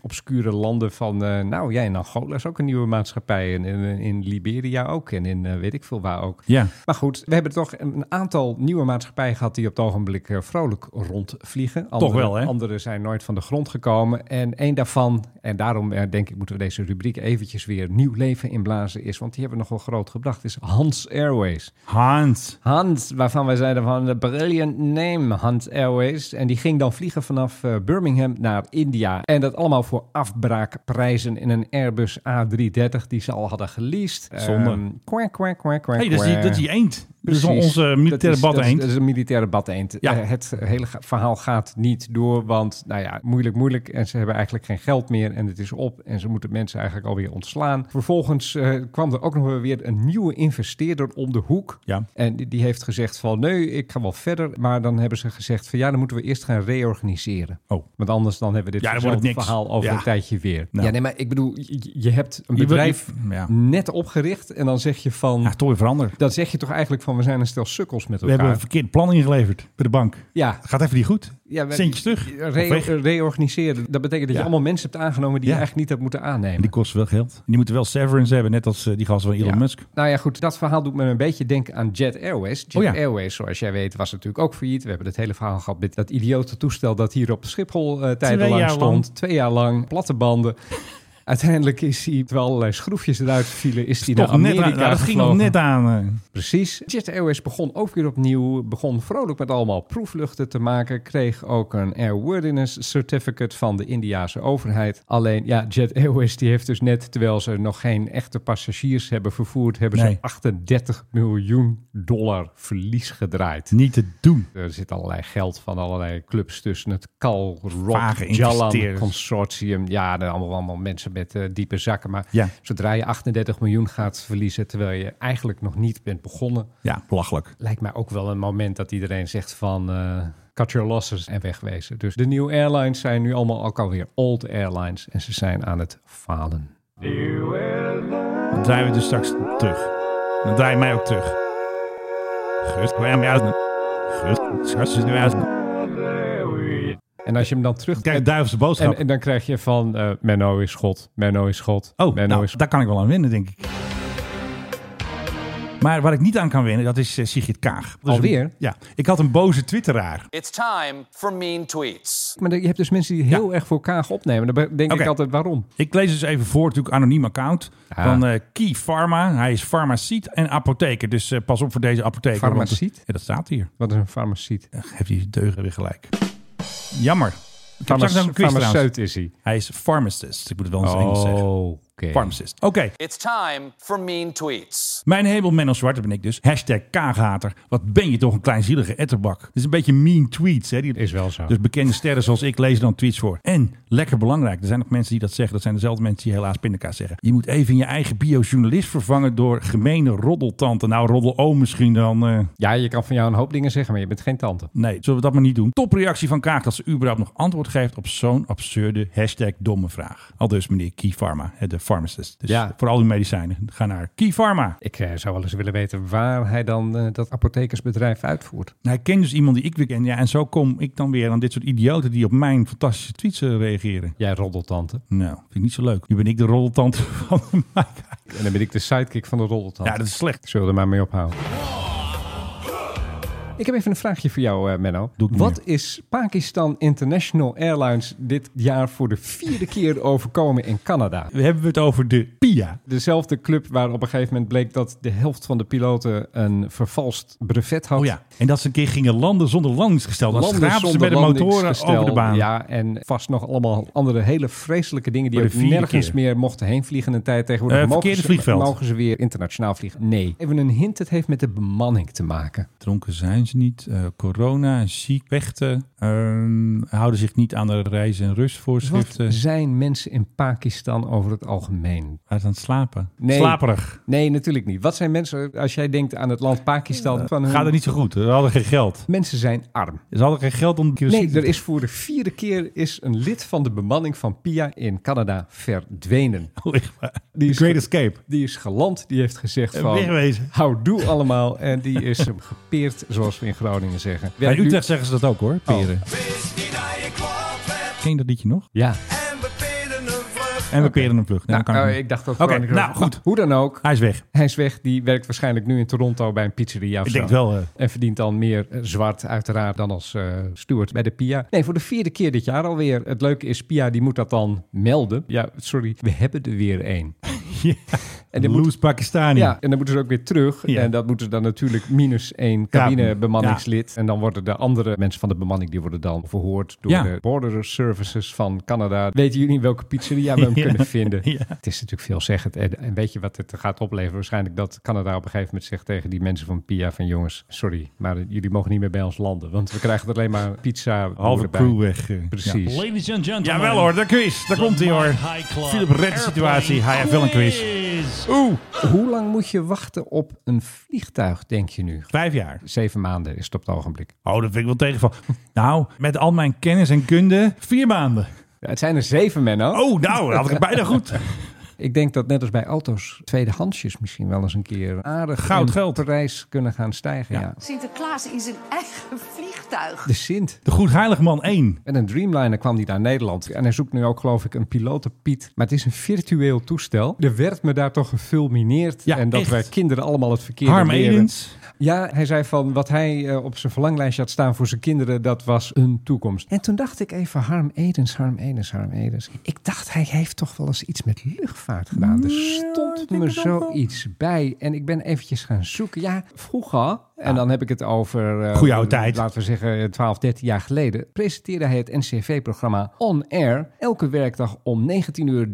Speaker 3: obscure landen van... eh, nou, jij in Angola is ook een nieuwe maatschappij. En in, in Liberia ook. En in eh, weet ik veel waar ook.
Speaker 7: Ja.
Speaker 3: Maar goed, we hebben toch een aantal nieuwe maatschappijen gehad... die op het ogenblik eh, vrolijk rondvliegen. Andere-
Speaker 7: wel, hè?
Speaker 3: Andere zijn nooit van de grond gekomen. En één daarvan, en daarom eh, denk ik moeten we deze rubriek... eventjes weer nieuw leven inblazen is. Want die hebben we nog wel groot gebracht. is Hans Airways.
Speaker 7: Hans.
Speaker 3: Hans, waarvan wij zeiden van de brilliant name Hans Airways. En die ging dan vliegen vanaf eh, Birmingham naar India. En dat allemaal voor afbraakprijzen in een Airbus A330 die ze al hadden geleased.
Speaker 7: Zonde.
Speaker 3: Ehm, kwak, kwak, kwak, kwak,
Speaker 7: Hey, dat, is die,
Speaker 3: kwak.
Speaker 7: dat is die eend. Dat is
Speaker 3: Precies.
Speaker 7: Dus onze militaire
Speaker 3: Dat is-
Speaker 7: bad eend.
Speaker 3: Dat is, dat is een militaire bad eend.
Speaker 7: Ja.
Speaker 3: het hele ga- verhaal gaat niet door, want nou ja, moeilijk, moeilijk. En ze hebben eigenlijk geen geld meer en het is op. En ze moeten mensen eigenlijk alweer ontslaan. Vervolgens eh, kwam er ook nog weer een nieuwe investeerder om de hoek.
Speaker 7: Ja.
Speaker 3: En die, die heeft gezegd van, nee, ik ga wel verder. Maar dan hebben ze gezegd van, ja, dan moeten we eerst gaan reorganiseren.
Speaker 7: Oh.
Speaker 3: Want anders dan hebben we dit
Speaker 7: Ja, dan wordt het
Speaker 3: hetzelfde
Speaker 7: niks.
Speaker 3: verhaal over
Speaker 7: Ja.
Speaker 3: een tijdje weer.
Speaker 7: Nou.
Speaker 3: Ja, nee, maar ik bedoel, je, je hebt een
Speaker 7: Je wil-
Speaker 3: bedrijf
Speaker 7: je- ja.
Speaker 3: net opgericht en dan zeg je van...
Speaker 7: Ja, toch weer veranderd.
Speaker 3: Dan zeg je toch eigenlijk van we zijn een stel sukkels met
Speaker 7: We
Speaker 3: elkaar.
Speaker 7: hebben een verkeerd plan ingeleverd bij de bank.
Speaker 3: Ja.
Speaker 7: Gaat even niet goed.
Speaker 3: Ja, we-
Speaker 7: Centjes terug. Of
Speaker 3: Re-
Speaker 7: weg.
Speaker 3: reorganiseren. Dat betekent dat je
Speaker 7: Ja.
Speaker 3: allemaal mensen hebt aangenomen die
Speaker 7: Ja.
Speaker 3: je eigenlijk niet hebt moeten
Speaker 7: En
Speaker 3: aannemen.
Speaker 7: die kosten wel geld. En die moeten wel severance hebben, net als eh, die gasten van Elon
Speaker 3: Ja.
Speaker 7: Musk.
Speaker 3: Nou ja, goed, dat verhaal doet me een beetje denken aan Jet Airways. Jet
Speaker 7: Oh ja.
Speaker 3: Airways, zoals jij weet, was natuurlijk ook failliet. We hebben het hele verhaal gehad met dat idiote toestel dat hier op Schiphol eh tijdenlang
Speaker 7: jaar
Speaker 3: stond.
Speaker 7: lang.
Speaker 3: Twee jaar lang, platte banden. Uiteindelijk is hij, terwijl allerlei schroefjes eruit vielen, is hij naar Amerika
Speaker 7: net aan, nou, dat ging nog
Speaker 3: gevlogen.
Speaker 7: net aan. eh.
Speaker 3: Precies. Jet Airways begon ook weer opnieuw. Begon vrolijk met allemaal proefluchten te maken. Kreeg ook een airworthiness certificate van de Indiase overheid. Alleen, ja, Jet Airways die heeft dus net, terwijl ze nog geen echte passagiers hebben vervoerd, hebben
Speaker 7: Nee.
Speaker 3: ze 38 miljoen dollar verlies gedraaid.
Speaker 7: eh, niet te doen.
Speaker 3: Er zit allerlei geld van allerlei clubs tussen. Het Kal, Rock,
Speaker 7: Vage
Speaker 3: Jalan
Speaker 7: investeerders.
Speaker 3: Consortium. Ja, er allemaal, allemaal mensen met eh, diepe zakken. Maar
Speaker 7: Ja.
Speaker 3: zodra je 38 miljoen gaat verliezen... terwijl je eigenlijk nog niet bent begonnen...
Speaker 7: Ja, belachelijk.
Speaker 3: lijkt mij ook wel een moment dat iedereen zegt van... eh cut your losses en wegwezen. Dus de nieuwe airlines zijn nu allemaal ook alweer old airlines. En ze zijn aan het falen.
Speaker 7: Dan draaien we dus straks terug. Dan draai je mij ook terug. Gut, kwam je uit. Gut, schat je nu uit.
Speaker 3: En als je hem dan terug...
Speaker 7: Kijk, duivelse boodschap.
Speaker 3: en, en dan krijg je van eh, Menno is God, Menno is God,
Speaker 7: oh,
Speaker 3: Menno
Speaker 7: nou,
Speaker 3: is
Speaker 7: daar kan ik wel aan winnen, denk ik. Maar waar ik niet aan kan winnen, dat is eh, Sigrid Kaag. Dus
Speaker 3: Alweer?
Speaker 7: een- ja, ik had een boze twitteraar.
Speaker 13: It's time for mean tweets.
Speaker 3: Maar je hebt dus mensen die heel erg voor Kaag opnemen. Dan denk
Speaker 7: Oké.
Speaker 3: ik altijd waarom.
Speaker 7: Ik lees dus even voor, natuurlijk anoniem account
Speaker 3: Ja.
Speaker 7: van eh, Key Pharma. Hij is farmaciet en apotheker, dus eh, pas op voor deze apotheker. want-
Speaker 3: Farmaciet?
Speaker 7: Ja, dat staat hier.
Speaker 3: Wat is een farmaciet?
Speaker 7: Heeft die deugen weer gelijk. Jammer. Ik heb
Speaker 3: Farmace-
Speaker 7: straks nog een quiz trouwens.
Speaker 3: farmaceut is hij.
Speaker 7: Hij is pharmacist. Ik moet het wel eens Engels zeggen.
Speaker 3: oké.
Speaker 7: Pharmacist. Oké.
Speaker 13: It's time for mean tweets.
Speaker 7: Mijn hebel Menno Zwart, dat ben ik dus. Hashtag Kaaghater. Wat ben je toch een kleinzielige etterbak. Dit is een beetje mean tweets. Hè? Die,
Speaker 3: Is wel zo.
Speaker 7: Dus bekende sterren zoals ik lezen dan tweets voor. En, lekker belangrijk, er zijn nog mensen die dat zeggen. Dat zijn dezelfde mensen die helaas pindakaas zeggen. Je moet even je eigen biojournalist vervangen door gemene roddeltante. Nou, roddeloom misschien dan... eh,
Speaker 3: Ja, je kan van jou een hoop dingen zeggen, maar je bent geen tante.
Speaker 7: Nee, zullen we dat maar niet doen. Topreactie van Kaag dat ze überhaupt nog antwoord geeft op zo'n absurde hashtag domme vraag. Al dus meneer Key Pharma, hè, de pharmacist. Dus
Speaker 3: Ja.
Speaker 7: voor al uw medicijnen, ga naar Key Pharma.
Speaker 3: Ik eh, zou wel eens willen weten waar hij dan eh, dat apothekersbedrijf uitvoert.
Speaker 7: Nou, ik ken dus iemand die ik weer ken. Ja, en zo kom ik dan weer aan dit soort idioten die op mijn fantastische tweets eh, reageren.
Speaker 3: Jij roddeltante.
Speaker 7: Nou, vind ik niet zo leuk. Nu ben ik de roddeltante van de maak.
Speaker 3: En dan ben ik de sidekick van de roddeltante.
Speaker 7: Ja, dat is slecht.
Speaker 3: Zullen we er maar mee ophouden. Ik heb even een vraagje voor jou, eh, Menno. Wat is Pakistan International Airlines dit jaar voor de vierde keer overkomen in Canada?
Speaker 7: We hebben het over de PIA.
Speaker 3: Dezelfde club waar op een gegeven moment bleek dat de helft van de piloten een vervalst brevet had.
Speaker 7: Oh ja, en dat ze een keer gingen landen zonder landingsgestel. Dan
Speaker 3: Landen
Speaker 7: schrapen ze
Speaker 3: zonder
Speaker 7: met de motoren
Speaker 3: landingsgestel.
Speaker 7: over de baan.
Speaker 3: Ja, en vast nog allemaal andere hele vreselijke dingen die
Speaker 7: Voor
Speaker 3: ook
Speaker 7: de vierde
Speaker 3: nergens
Speaker 7: keer.
Speaker 3: meer mochten heen vliegen in tijd tegenwoordig.
Speaker 7: Eh,
Speaker 3: Mogen
Speaker 7: verkeerde
Speaker 3: ze-
Speaker 7: vliegveld.
Speaker 3: Mogen ze weer internationaal vliegen? Nee. Even een hint, het heeft met de bemanning te maken.
Speaker 7: Dronken zijn ze niet. eh, corona, ziek, vechten. ehm, houden zich niet aan de reis- en
Speaker 3: Dus Wat
Speaker 7: rustvoorschriften.
Speaker 3: zijn mensen in Pakistan over het algemeen?
Speaker 7: Waar ze aan het slapen. Slaperig.
Speaker 3: Nee, natuurlijk niet. Wat zijn mensen, als jij denkt aan het land Pakistan... van hun-
Speaker 7: Gaat het niet zo Dus- goed. Ze hadden geen geld.
Speaker 3: Mensen zijn arm.
Speaker 7: Ze hadden geen geld om...
Speaker 3: Nee, er is voor de vierde keer is een lid van de bemanning van PIA in Canada verdwenen. Die is
Speaker 7: Great Escape.
Speaker 3: Die is geland, die heeft gezegd
Speaker 7: Eh,
Speaker 3: van...
Speaker 7: wegwezen.
Speaker 3: Hou doe allemaal. En die is hem gepeerd, zoals we in Groningen zeggen.
Speaker 7: Ja, in Utrecht zeggen ze dat ook
Speaker 3: Oh.
Speaker 7: hoor, peren. Ken je dat liedje nog?
Speaker 3: Ja.
Speaker 7: En we peren een vlucht. Nee,
Speaker 3: Nou,
Speaker 7: dat kan
Speaker 3: eh,
Speaker 7: niet.
Speaker 3: ik dacht ook.
Speaker 7: Oké,
Speaker 3: Groningen-
Speaker 7: nou goed.
Speaker 3: Hoe dan ook.
Speaker 7: Hij is weg.
Speaker 3: Hij is weg. Die werkt waarschijnlijk nu in Toronto bij een pizzeria of
Speaker 7: Ik
Speaker 3: zo.
Speaker 7: denk wel, eh.
Speaker 3: En verdient dan meer eh, zwart uiteraard dan als eh steward bij de PIA. Nee, voor de vierde keer dit jaar alweer. Het leuke is, PIA die moet dat dan melden. Ja, sorry, we hebben er weer één. En dit moet-
Speaker 7: Loose Pakistani.
Speaker 3: Ja, en dan moeten ze ook weer terug.
Speaker 7: Ja.
Speaker 3: En dat moeten ze dan natuurlijk minus één cabinebemanningslid. En dan worden de andere mensen van de bemanning... die worden dan verhoord door
Speaker 7: Ja.
Speaker 3: de border services van Canada. Weten jullie welke pizzeria we hem
Speaker 7: Ja.
Speaker 3: kunnen vinden?
Speaker 7: Ja.
Speaker 3: Het is natuurlijk veelzeggend. En, en weet je wat het gaat opleveren? Waarschijnlijk dat Canada op een gegeven moment zegt tegen die mensen van PIA... van jongens, sorry, maar jullie mogen niet meer bij ons landen. Want we krijgen er alleen maar pizza.
Speaker 7: Halve
Speaker 3: erbij.
Speaker 7: crew weg. eh,
Speaker 3: Precies.
Speaker 14: Ladies and gentlemen.
Speaker 7: Jawel hoor, de quiz. Daar komt hij hoor. Philip redt de situatie. Hij heeft wel een quiz.
Speaker 3: Oeh. Hoe lang moet je wachten op een vliegtuig, denk je nu?
Speaker 7: Vijf jaar.
Speaker 3: Zeven maanden is het op het ogenblik.
Speaker 7: Oh, dat vind ik wel tegenval. Nou, met al mijn kennis en kunde, vier maanden.
Speaker 3: Ja, het zijn er zeven, Menno.
Speaker 7: Oh, nou, dat had ik het bijna goed.
Speaker 3: Ik denk dat net als bij auto's tweedehandsjes misschien wel eens een keer aardig
Speaker 7: Goud
Speaker 3: in prijs kunnen gaan stijgen. Ja.
Speaker 15: Sinterklaas in zijn eigen vliegtuig.
Speaker 3: De Sint.
Speaker 7: De Goed Heiligman 1.
Speaker 3: En een Dreamliner kwam die naar Nederland. En hij zoekt nu ook, geloof ik, een pilotenpiet. Maar het is een virtueel toestel. Er werd me daar toch gefulmineerd. en dat
Speaker 7: echt.
Speaker 3: wij kinderen allemaal het verkeerde
Speaker 7: Harm
Speaker 3: leren.
Speaker 7: Edens.
Speaker 3: Ja, hij zei van wat hij eh, op zijn verlanglijstje had staan voor zijn kinderen, dat was een toekomst. En toen dacht ik even, Harm Edens, Harm Edens, Harm Edens. Ik dacht, hij heeft toch wel eens iets met luchtvaart gedaan. Er stond me zoiets bij. En ik ben eventjes gaan zoeken. Ja, vroeger, en dan heb ik het over... eh,
Speaker 7: Goeie oude tijd.
Speaker 3: Laten we zeggen 12, 13 jaar geleden, presenteerde hij het NCV-programma On Air. Elke werkdag om 19.30 uur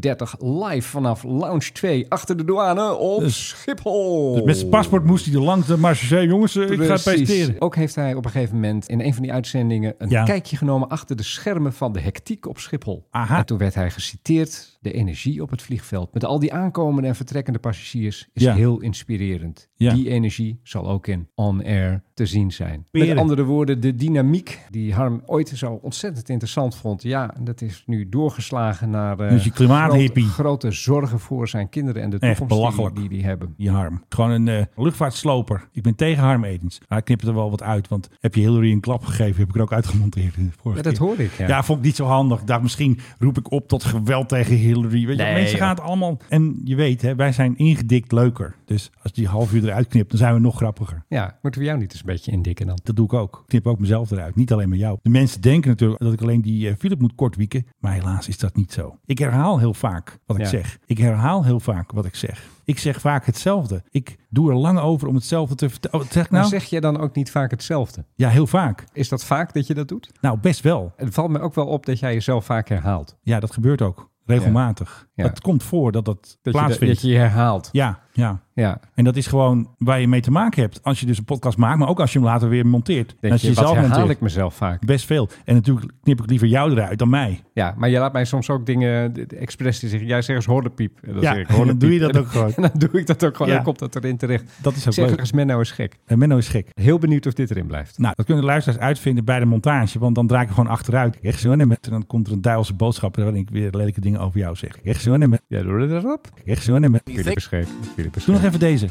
Speaker 3: live vanaf Lounge 2 achter de douane op Schiphol.
Speaker 7: Dus met zijn paspoort moest hij er langs. de zei, jongens, eh, ik ga het presenteren.
Speaker 3: Ook heeft hij op een gegeven moment in een van die uitzendingen een
Speaker 7: Ja.
Speaker 3: kijkje genomen achter de schermen van de hectiek op Schiphol.
Speaker 7: Aha.
Speaker 3: En toen werd hij geciteerd. De energie op het vliegveld met al die aankomende en vertrekkende passagiers is
Speaker 7: Ja.
Speaker 3: heel inspirerend.
Speaker 7: Ja.
Speaker 3: Die energie zal ook in On Air te zien zijn.
Speaker 7: Peren.
Speaker 3: Met andere woorden, de dynamiek die Harm ooit zo ontzettend interessant vond. Ja, dat is nu doorgeslagen naar eh,
Speaker 7: Dus je klimaathippie.
Speaker 3: grote, grote zorgen voor zijn kinderen en de
Speaker 7: Echt
Speaker 3: toekomst die-
Speaker 7: belachelijk.
Speaker 3: die die hebben.
Speaker 7: Die Harm. Gewoon een eh, luchtvaartsloper. Ik ben tegen Harm Edens. Maar hij knipt er wel wat uit. Want heb je Hillary een klap gegeven, heb ik er ook uitgemonteerd. eh, vorige
Speaker 3: Ja, dat
Speaker 7: keer.
Speaker 3: hoorde ik, ja.
Speaker 7: Ja, vond ik niet zo handig. Daar misschien roep ik op tot geweld tegen Hillary. Weet je,
Speaker 3: Nee,
Speaker 7: mensen
Speaker 3: joh.
Speaker 7: gaan het allemaal... En je weet, hè, wij zijn ingedikt leuker. Dus als die half uur eruit knipt, dan zijn we nog grappiger.
Speaker 3: Ja, moeten we jou niet eens een beetje indikken dan?
Speaker 7: Dat doe ik ook. Ik knip ook mezelf eruit. Niet alleen maar jou. De mensen denken natuurlijk dat ik alleen die eh, Philip moet kortwieken. Maar helaas is dat niet zo. Ik herhaal heel vaak wat ik
Speaker 3: Ja.
Speaker 7: zeg. Ik herhaal heel vaak wat ik zeg. Ik zeg vaak hetzelfde. Ik doe er lang over om hetzelfde te vertellen. Oh, wat zeg ik nou?
Speaker 3: Maar zeg je dan ook niet vaak hetzelfde?
Speaker 7: Ja, heel vaak.
Speaker 3: Is dat vaak dat je dat doet?
Speaker 7: Nou, best wel.
Speaker 3: Het valt me ook wel op dat jij jezelf vaak herhaalt.
Speaker 7: Ja, dat gebeurt ook. Regelmatig.
Speaker 3: Ja.
Speaker 7: Het komt voor dat dat,
Speaker 3: Dat, je,
Speaker 7: plaatsvindt.
Speaker 3: dat je je herhaalt.
Speaker 7: Ja, ja.
Speaker 3: Ja.
Speaker 7: En dat is gewoon waar je mee te maken hebt. Als je dus een podcast maakt, maar ook als je hem later weer monteert. En
Speaker 3: Denk
Speaker 7: als
Speaker 3: je, wat
Speaker 7: jezelf
Speaker 3: herhaal
Speaker 7: monteert.
Speaker 3: ik mezelf vaak?
Speaker 7: Best veel. En natuurlijk knip ik liever jou eruit dan mij.
Speaker 3: Ja, maar je laat mij soms ook dingen de- de expres die zeggen, jij zegt eens hordepiep. En dan
Speaker 7: Ja,
Speaker 3: zeg ik, hordepiep.
Speaker 7: dan doe je dat ook gewoon.
Speaker 3: En dan doe ik dat ook gewoon.
Speaker 7: Ja.
Speaker 3: Dan komt dat erin terecht.
Speaker 7: Dat is ook
Speaker 3: zeg
Speaker 7: leuk.
Speaker 3: eens, Menno is gek.
Speaker 7: En Menno is gek.
Speaker 3: Heel benieuwd of dit erin blijft.
Speaker 7: Nou, dat kunnen de luisteraars uitvinden bij de montage. Want dan draai ik er gewoon achteruit. Echt zo, nee, met- en dan komt er een duivelse boodschap. En dan ik weer lelijke dingen over jou zeg. Echt zo, nee, met-
Speaker 3: Ja, doe dat erop.
Speaker 7: Echt zo, nee, met-
Speaker 3: Philip is gek. Philip is
Speaker 7: Doe nog
Speaker 3: gek.
Speaker 7: even deze.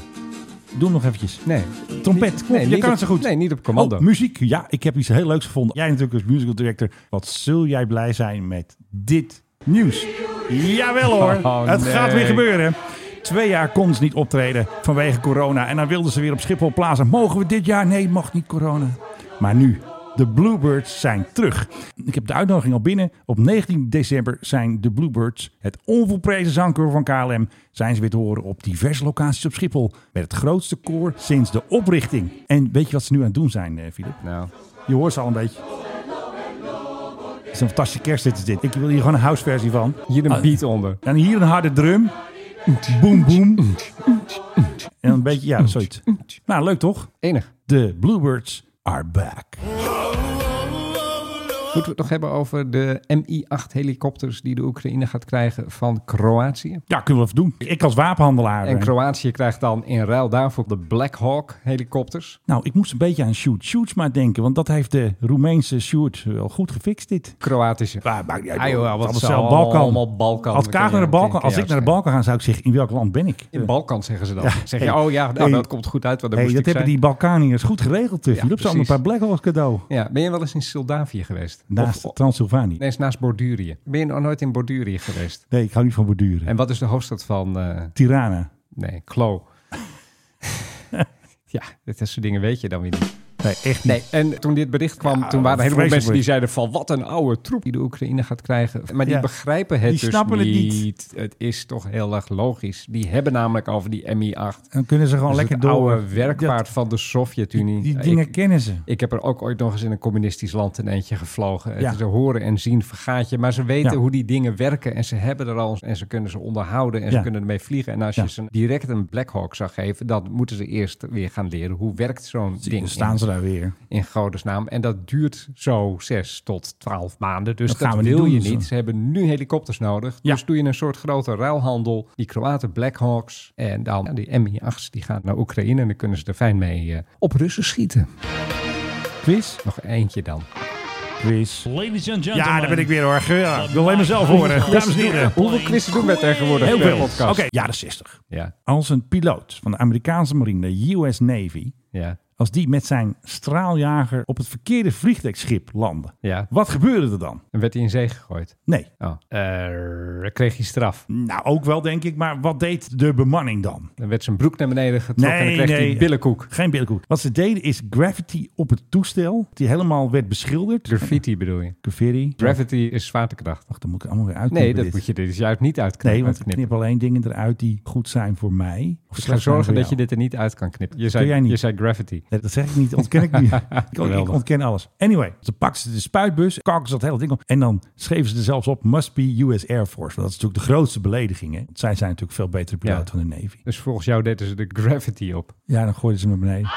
Speaker 7: Doe hem nog eventjes.
Speaker 3: Nee.
Speaker 7: Trompet, kom,
Speaker 3: Nee,
Speaker 7: je
Speaker 3: niet
Speaker 7: kan
Speaker 3: op-
Speaker 7: het zo goed.
Speaker 3: Nee, niet op commando.
Speaker 7: Oh, muziek, ja, ik heb iets heel leuks gevonden. Jij natuurlijk als musical director. Wat zul jij blij zijn met dit nieuws? Jawel hoor,
Speaker 3: Oh,
Speaker 7: het
Speaker 3: nee.
Speaker 7: gaat weer gebeuren. Twee jaar kon ze niet optreden vanwege corona. En dan wilden ze weer op Schiphol plaatsen. Mogen we dit jaar? Nee, mag niet corona. Maar nu, de Bluebirds zijn terug. Ik heb de uitnodiging al binnen. Op 19 december zijn de Bluebirds, het onvolprezen zangkoor van KLM, zijn ze weer te horen op diverse locaties op Schiphol. Met het grootste koor sinds de oprichting. En weet je wat ze nu aan het doen zijn, eh, Filip?
Speaker 3: Nou.
Speaker 7: Je hoort ze al een beetje. Het is een fantastische kerstlied is dit. Ik wil hier gewoon een houseversie van.
Speaker 3: Hier een beat onder.
Speaker 7: En hier een harde drum. Boom, boom. En een beetje, ja, zoiets. Nou, leuk toch?
Speaker 3: Enig.
Speaker 7: De Bluebirds are back.
Speaker 3: Moeten we het nog hebben over de Mi-8 helikopters die de Oekraïne gaat krijgen van Kroatië?
Speaker 7: Ja, kunnen we even doen. Ik als wapenhandelaar. eh,
Speaker 3: En Kroatië krijgt dan in ruil daarvoor de Black Hawk helikopters.
Speaker 7: Nou, ik moest een beetje aan Shoot Shoots maar denken. Want dat heeft de Roemeense Shoot wel goed gefixt dit.
Speaker 3: Kroatische.
Speaker 7: Ah, maakt niet uit.
Speaker 3: Ah, joh, wat
Speaker 7: Allemaal
Speaker 3: het zal
Speaker 7: zelf Balkan.
Speaker 3: allemaal Balkan.
Speaker 7: Als
Speaker 3: Dan
Speaker 7: Kaag
Speaker 3: kun
Speaker 7: naar
Speaker 3: je-
Speaker 7: de Balkan,
Speaker 3: kun je
Speaker 7: als ik naar de Balkan ga, zou ik zeggen, in welk land ben ik?
Speaker 3: In Balkan zeggen ze dat.
Speaker 7: Ja.
Speaker 3: Zeg je, oh ja, nou,
Speaker 7: Hey.
Speaker 3: dat komt goed uit. Want daar
Speaker 7: Hey,
Speaker 3: moest
Speaker 7: dat
Speaker 3: ik
Speaker 7: hebben die
Speaker 3: zijn.
Speaker 7: Balkaniërs goed geregeld. Ja, Philip, ze hadden
Speaker 3: precies.
Speaker 7: een paar Black Hawk cadeau.
Speaker 3: Ja, ben je wel eens in Moldavië geweest?
Speaker 7: Naast
Speaker 3: Of-
Speaker 7: Transylvanië.
Speaker 3: Nee, is naast Bordurië. Ben je nog nooit in Bordurië geweest?
Speaker 7: Nee, ik hou niet van borduren.
Speaker 3: En wat is de hoofdstad van... eh,
Speaker 7: Tirana.
Speaker 3: Nee, Klo. ja, dit soort dingen weet je dan weer niet.
Speaker 7: Nee, echt niet.
Speaker 3: Nee, en toen dit bericht kwam, toen waren er een heleboel
Speaker 7: vreselijk.
Speaker 3: mensen die zeiden van... wat een oude troep die de Oekraïne gaat krijgen. Maar die
Speaker 7: Ja.
Speaker 3: begrijpen het
Speaker 7: Die
Speaker 3: dus
Speaker 7: snappen het niet.
Speaker 3: niet. Het is toch heel erg logisch. Die hebben namelijk over die Mi-8.
Speaker 7: Dan kunnen ze gewoon
Speaker 3: Dat is
Speaker 7: lekker
Speaker 3: dus het
Speaker 7: door.
Speaker 3: oude werkpaard van de Sovjet-Unie.
Speaker 7: Die dingen
Speaker 3: Ik-
Speaker 7: kennen ze.
Speaker 3: ik heb er ook ooit nog eens in een communistisch land een eentje gevlogen.
Speaker 7: Ja.
Speaker 3: Het is een horen en zien vergaat je. Maar ze weten
Speaker 7: Ja.
Speaker 3: hoe die dingen werken en ze hebben er al en ze kunnen ze onderhouden en ze
Speaker 7: Ja.
Speaker 3: kunnen ermee vliegen. En als
Speaker 7: Ja.
Speaker 3: je ze direct een Black Hawk zou geven, dan moeten ze eerst weer gaan leren hoe werkt zo'n ding.
Speaker 7: Dan staan
Speaker 3: in-
Speaker 7: ze daar weer.
Speaker 3: In godesnaam. En dat duurt zo zes tot twaalf maanden. Dus
Speaker 7: Dat
Speaker 3: dat,
Speaker 7: gaan we niet
Speaker 3: wil
Speaker 7: doen,
Speaker 3: je
Speaker 7: dus,
Speaker 3: niet.
Speaker 7: eh.
Speaker 3: Ze hebben nu helikopters nodig. Dus doe je een soort grote ruilhandel. Die Kroaten Black Hawks en dan ja, die Mi-8's die gaan naar Oekraïne. En dan kunnen ze er fijn mee eh, op Russen schieten.
Speaker 7: Quiz?
Speaker 3: Nog eentje dan.
Speaker 7: Eh, Quiz.
Speaker 14: Ladies and gentlemen.
Speaker 7: Ja, daar ben ik weer hoor. Ja, ik wil alleen mezelf horen. Dames en heren.
Speaker 3: Hoeveel quizzen doen we tegenwoordig
Speaker 7: Heel
Speaker 3: per
Speaker 7: veel. Oké,
Speaker 3: podcast?
Speaker 7: jaren 60.
Speaker 3: Ja.
Speaker 7: Als een piloot van de Amerikaanse marine, de US Navy,
Speaker 3: Ja.
Speaker 7: als die met zijn straaljager op het verkeerde vliegdekschip landde,
Speaker 3: Ja.
Speaker 7: wat gebeurde er dan?
Speaker 3: En werd hij in zee gegooid?
Speaker 7: Nee.
Speaker 3: Oh. Eh, kreeg hij straf?
Speaker 7: Nou, ook wel denk ik, maar wat deed de bemanning dan?
Speaker 3: Dan werd zijn broek naar beneden getrokken en dan kreeg hij billenkoek.
Speaker 7: Geen billenkoek. Wat ze deden is graffiti op het toestel, die helemaal werd beschilderd.
Speaker 3: Graffiti bedoel je?
Speaker 7: Graffiti.
Speaker 3: Gravity is zwaartekracht.
Speaker 7: Wacht, dan moet ik allemaal weer uitknippen.
Speaker 3: Nee, dat
Speaker 7: dit.
Speaker 3: moet je er dus juist niet uitknippen.
Speaker 7: Nee, want ik
Speaker 3: uitknippen.
Speaker 7: knip alleen dingen eruit die goed zijn voor mij. Of
Speaker 3: Dus ga
Speaker 7: slecht zijn
Speaker 3: zorgen
Speaker 7: voor
Speaker 3: dat je
Speaker 7: jou.
Speaker 3: dit er niet uit kan knippen. Je
Speaker 7: Dat
Speaker 3: zei,
Speaker 7: doe jij niet.
Speaker 3: je zei gravity.
Speaker 7: Nee, dat zeg ik niet, ontken ik niet. ik, ik
Speaker 3: Geweldig.
Speaker 7: ontken alles. Anyway, ze pakten ze de spuitbus, kakken ze dat hele ding op. En dan schreven ze er zelfs op, must be US Air Force. Want dat is natuurlijk de grootste belediging. Hè? Want zij zijn natuurlijk veel betere piloot
Speaker 3: Ja.
Speaker 7: van de Navy.
Speaker 3: Dus volgens jou deden ze de gravity op.
Speaker 7: Ja, dan gooiden ze hem naar beneden.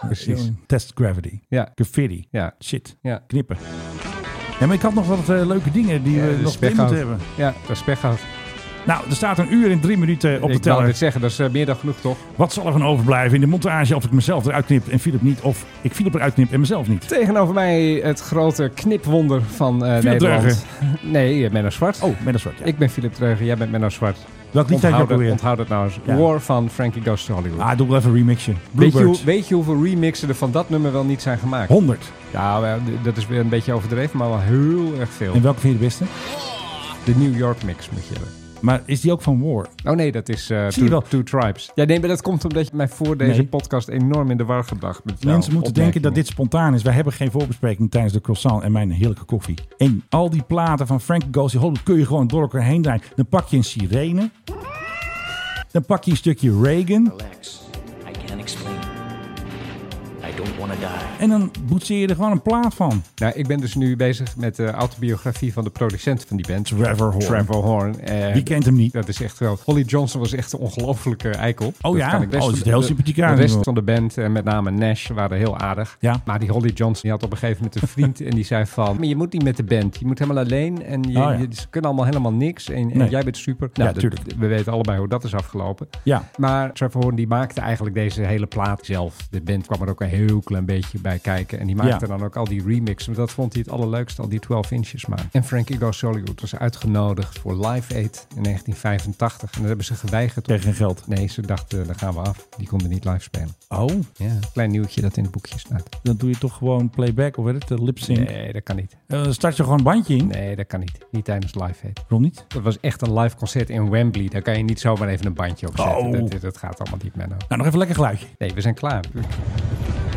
Speaker 3: Precies.
Speaker 7: Test gravity.
Speaker 3: Ja.
Speaker 7: Graffiti.
Speaker 3: Ja.
Speaker 7: Shit.
Speaker 3: Ja.
Speaker 7: Knippen. Ja, maar ik had nog wat eh, leuke dingen die we
Speaker 3: de
Speaker 7: nog in
Speaker 3: speghout.
Speaker 7: moeten hebben.
Speaker 3: Ja, dat is pechhout.
Speaker 7: Nou, er staat een uur en drie minuten op de
Speaker 3: Ik wou
Speaker 7: teller.
Speaker 3: dit zeggen, dat is eh, meer dan genoeg toch?
Speaker 7: Wat zal er van overblijven in de montage of ik mezelf eruit knip en Philip niet? Of ik Philip eruit knip en mezelf niet?
Speaker 3: Tegenover mij het grote knipwonder van eh
Speaker 7: Philip
Speaker 3: Nederland. Nee, eh, Menno Zwart.
Speaker 7: Oh, Menno Zwart, ja.
Speaker 3: Ik ben Philip Dreugen, jij bent Menno Zwart.
Speaker 7: Welk lied had je
Speaker 3: Onthoud
Speaker 7: ook
Speaker 3: het-
Speaker 7: alweer?
Speaker 3: Onthoud het nou eens.
Speaker 7: Ja.
Speaker 3: War van Frankie Goes to Hollywood.
Speaker 7: Ah, doe wel even een remixje.
Speaker 3: weet, je, hoe-
Speaker 7: Bluebird.
Speaker 3: weet je hoeveel remixen er van dat nummer wel niet zijn gemaakt?
Speaker 7: 100.
Speaker 3: Ja, wel, d- dat is weer een beetje overdreven, maar wel heel erg veel.
Speaker 7: En welke vind je de beste?
Speaker 3: De New York mix moet je hebben.
Speaker 7: Maar is die ook van War?
Speaker 3: Oh nee, dat is eh,
Speaker 7: Zie
Speaker 3: two,
Speaker 7: je wel.
Speaker 3: Two Tribes. Ja, nee, maar dat komt omdat je mij voor deze
Speaker 7: Nee.
Speaker 3: podcast enorm in de war gebracht met jouw
Speaker 7: Mensen moeten denken dat
Speaker 3: opmerkingen.
Speaker 7: dit spontaan is. Wij hebben geen voorbespreking tijdens de croissant en mijn heerlijke koffie. En al die platen van Frank Goes to Hollywood kun je gewoon door elkaar heen draaien. Dan pak je een sirene. Dan pak je een stukje Reagan.
Speaker 4: Relax. I can't explain. I don't want to die.
Speaker 7: En dan boetseer je er gewoon een plaat van.
Speaker 3: Nou, ik ben dus nu bezig met de autobiografie van de producent van die band.
Speaker 7: Trevor Horn.
Speaker 3: Trevor Horn. En
Speaker 7: Wie kent hem niet?
Speaker 3: Dat is echt wel... Holly Johnson was echt een ongelofelijke eikel.
Speaker 7: Oh ja?
Speaker 3: kan ik best-
Speaker 7: Oh, er zit heel sympathiek aan,
Speaker 3: De rest
Speaker 7: joh.
Speaker 3: van de band, en met name Nash, waren heel aardig.
Speaker 7: Ja.
Speaker 3: Maar die Holly Johnson die had op een gegeven moment een vriend. en die zei van, maar je moet niet met de band. Je moet helemaal alleen. En je,
Speaker 7: Oh ja.
Speaker 3: je- ze kunnen allemaal helemaal niks. En, en
Speaker 7: Nee.
Speaker 3: jij bent super. Nou,
Speaker 7: Ja,
Speaker 3: dat-
Speaker 7: tuurlijk.
Speaker 3: We weten allebei hoe dat is afgelopen.
Speaker 7: Ja.
Speaker 3: Maar Trevor Horn die maakte eigenlijk deze hele plaat zelf. De band kwam er ook een heel klein beetje bij kijken. En die maakte
Speaker 7: Ja.
Speaker 3: dan ook al die remixen. Maar dat vond hij het allerleukste, al die 12 inches maken. En Frankie Goes to Hollywood was uitgenodigd voor Live Aid in 1985. En dat hebben ze geweigerd.
Speaker 7: Tegen geen geld.
Speaker 3: Nee, ze dachten, eh, daar gaan we af. Die konden niet live spelen.
Speaker 7: Oh,
Speaker 3: Ja, klein nieuwtje dat in het boekje staat.
Speaker 7: dan doe je toch gewoon playback of weet het, eh, lip sync.
Speaker 3: Nee, dat kan niet.
Speaker 7: Eh, Dan start je gewoon een bandje in.
Speaker 3: Nee, dat kan niet. Niet tijdens Live Aid.
Speaker 7: Waarom niet?
Speaker 3: Dat was echt een live concert in Wembley. Daar kan je niet zomaar even een bandje op zetten.
Speaker 7: Oh.
Speaker 3: Dat, dat gaat allemaal niet, Menno.
Speaker 7: Nou, nog even lekker geluidje.
Speaker 3: Nee, we zijn klaar.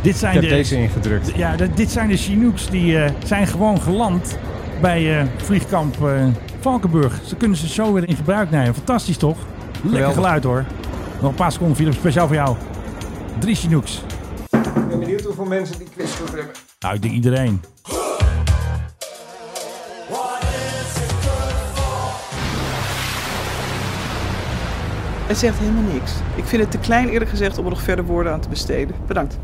Speaker 7: Dit zijn
Speaker 3: heb
Speaker 7: de,
Speaker 3: deze ingedrukt.
Speaker 7: Ja, d- dit zijn de Chinooks die eh, zijn gewoon geland bij eh, vliegkamp eh, Valkenburg. Ze kunnen ze zo weer in gebruik nemen. Fantastisch toch? Lekker
Speaker 3: Geweldig.
Speaker 7: geluid hoor. Nog een paar seconden, Philip, speciaal voor jou. Drie Chinooks.
Speaker 3: Ik ben benieuwd hoeveel mensen die quiz goed hebben.
Speaker 7: Nou, ik denk iedereen.
Speaker 1: Het zegt helemaal niks. Ik vind het te klein eerlijk gezegd om er nog verder woorden aan te besteden. Bedankt.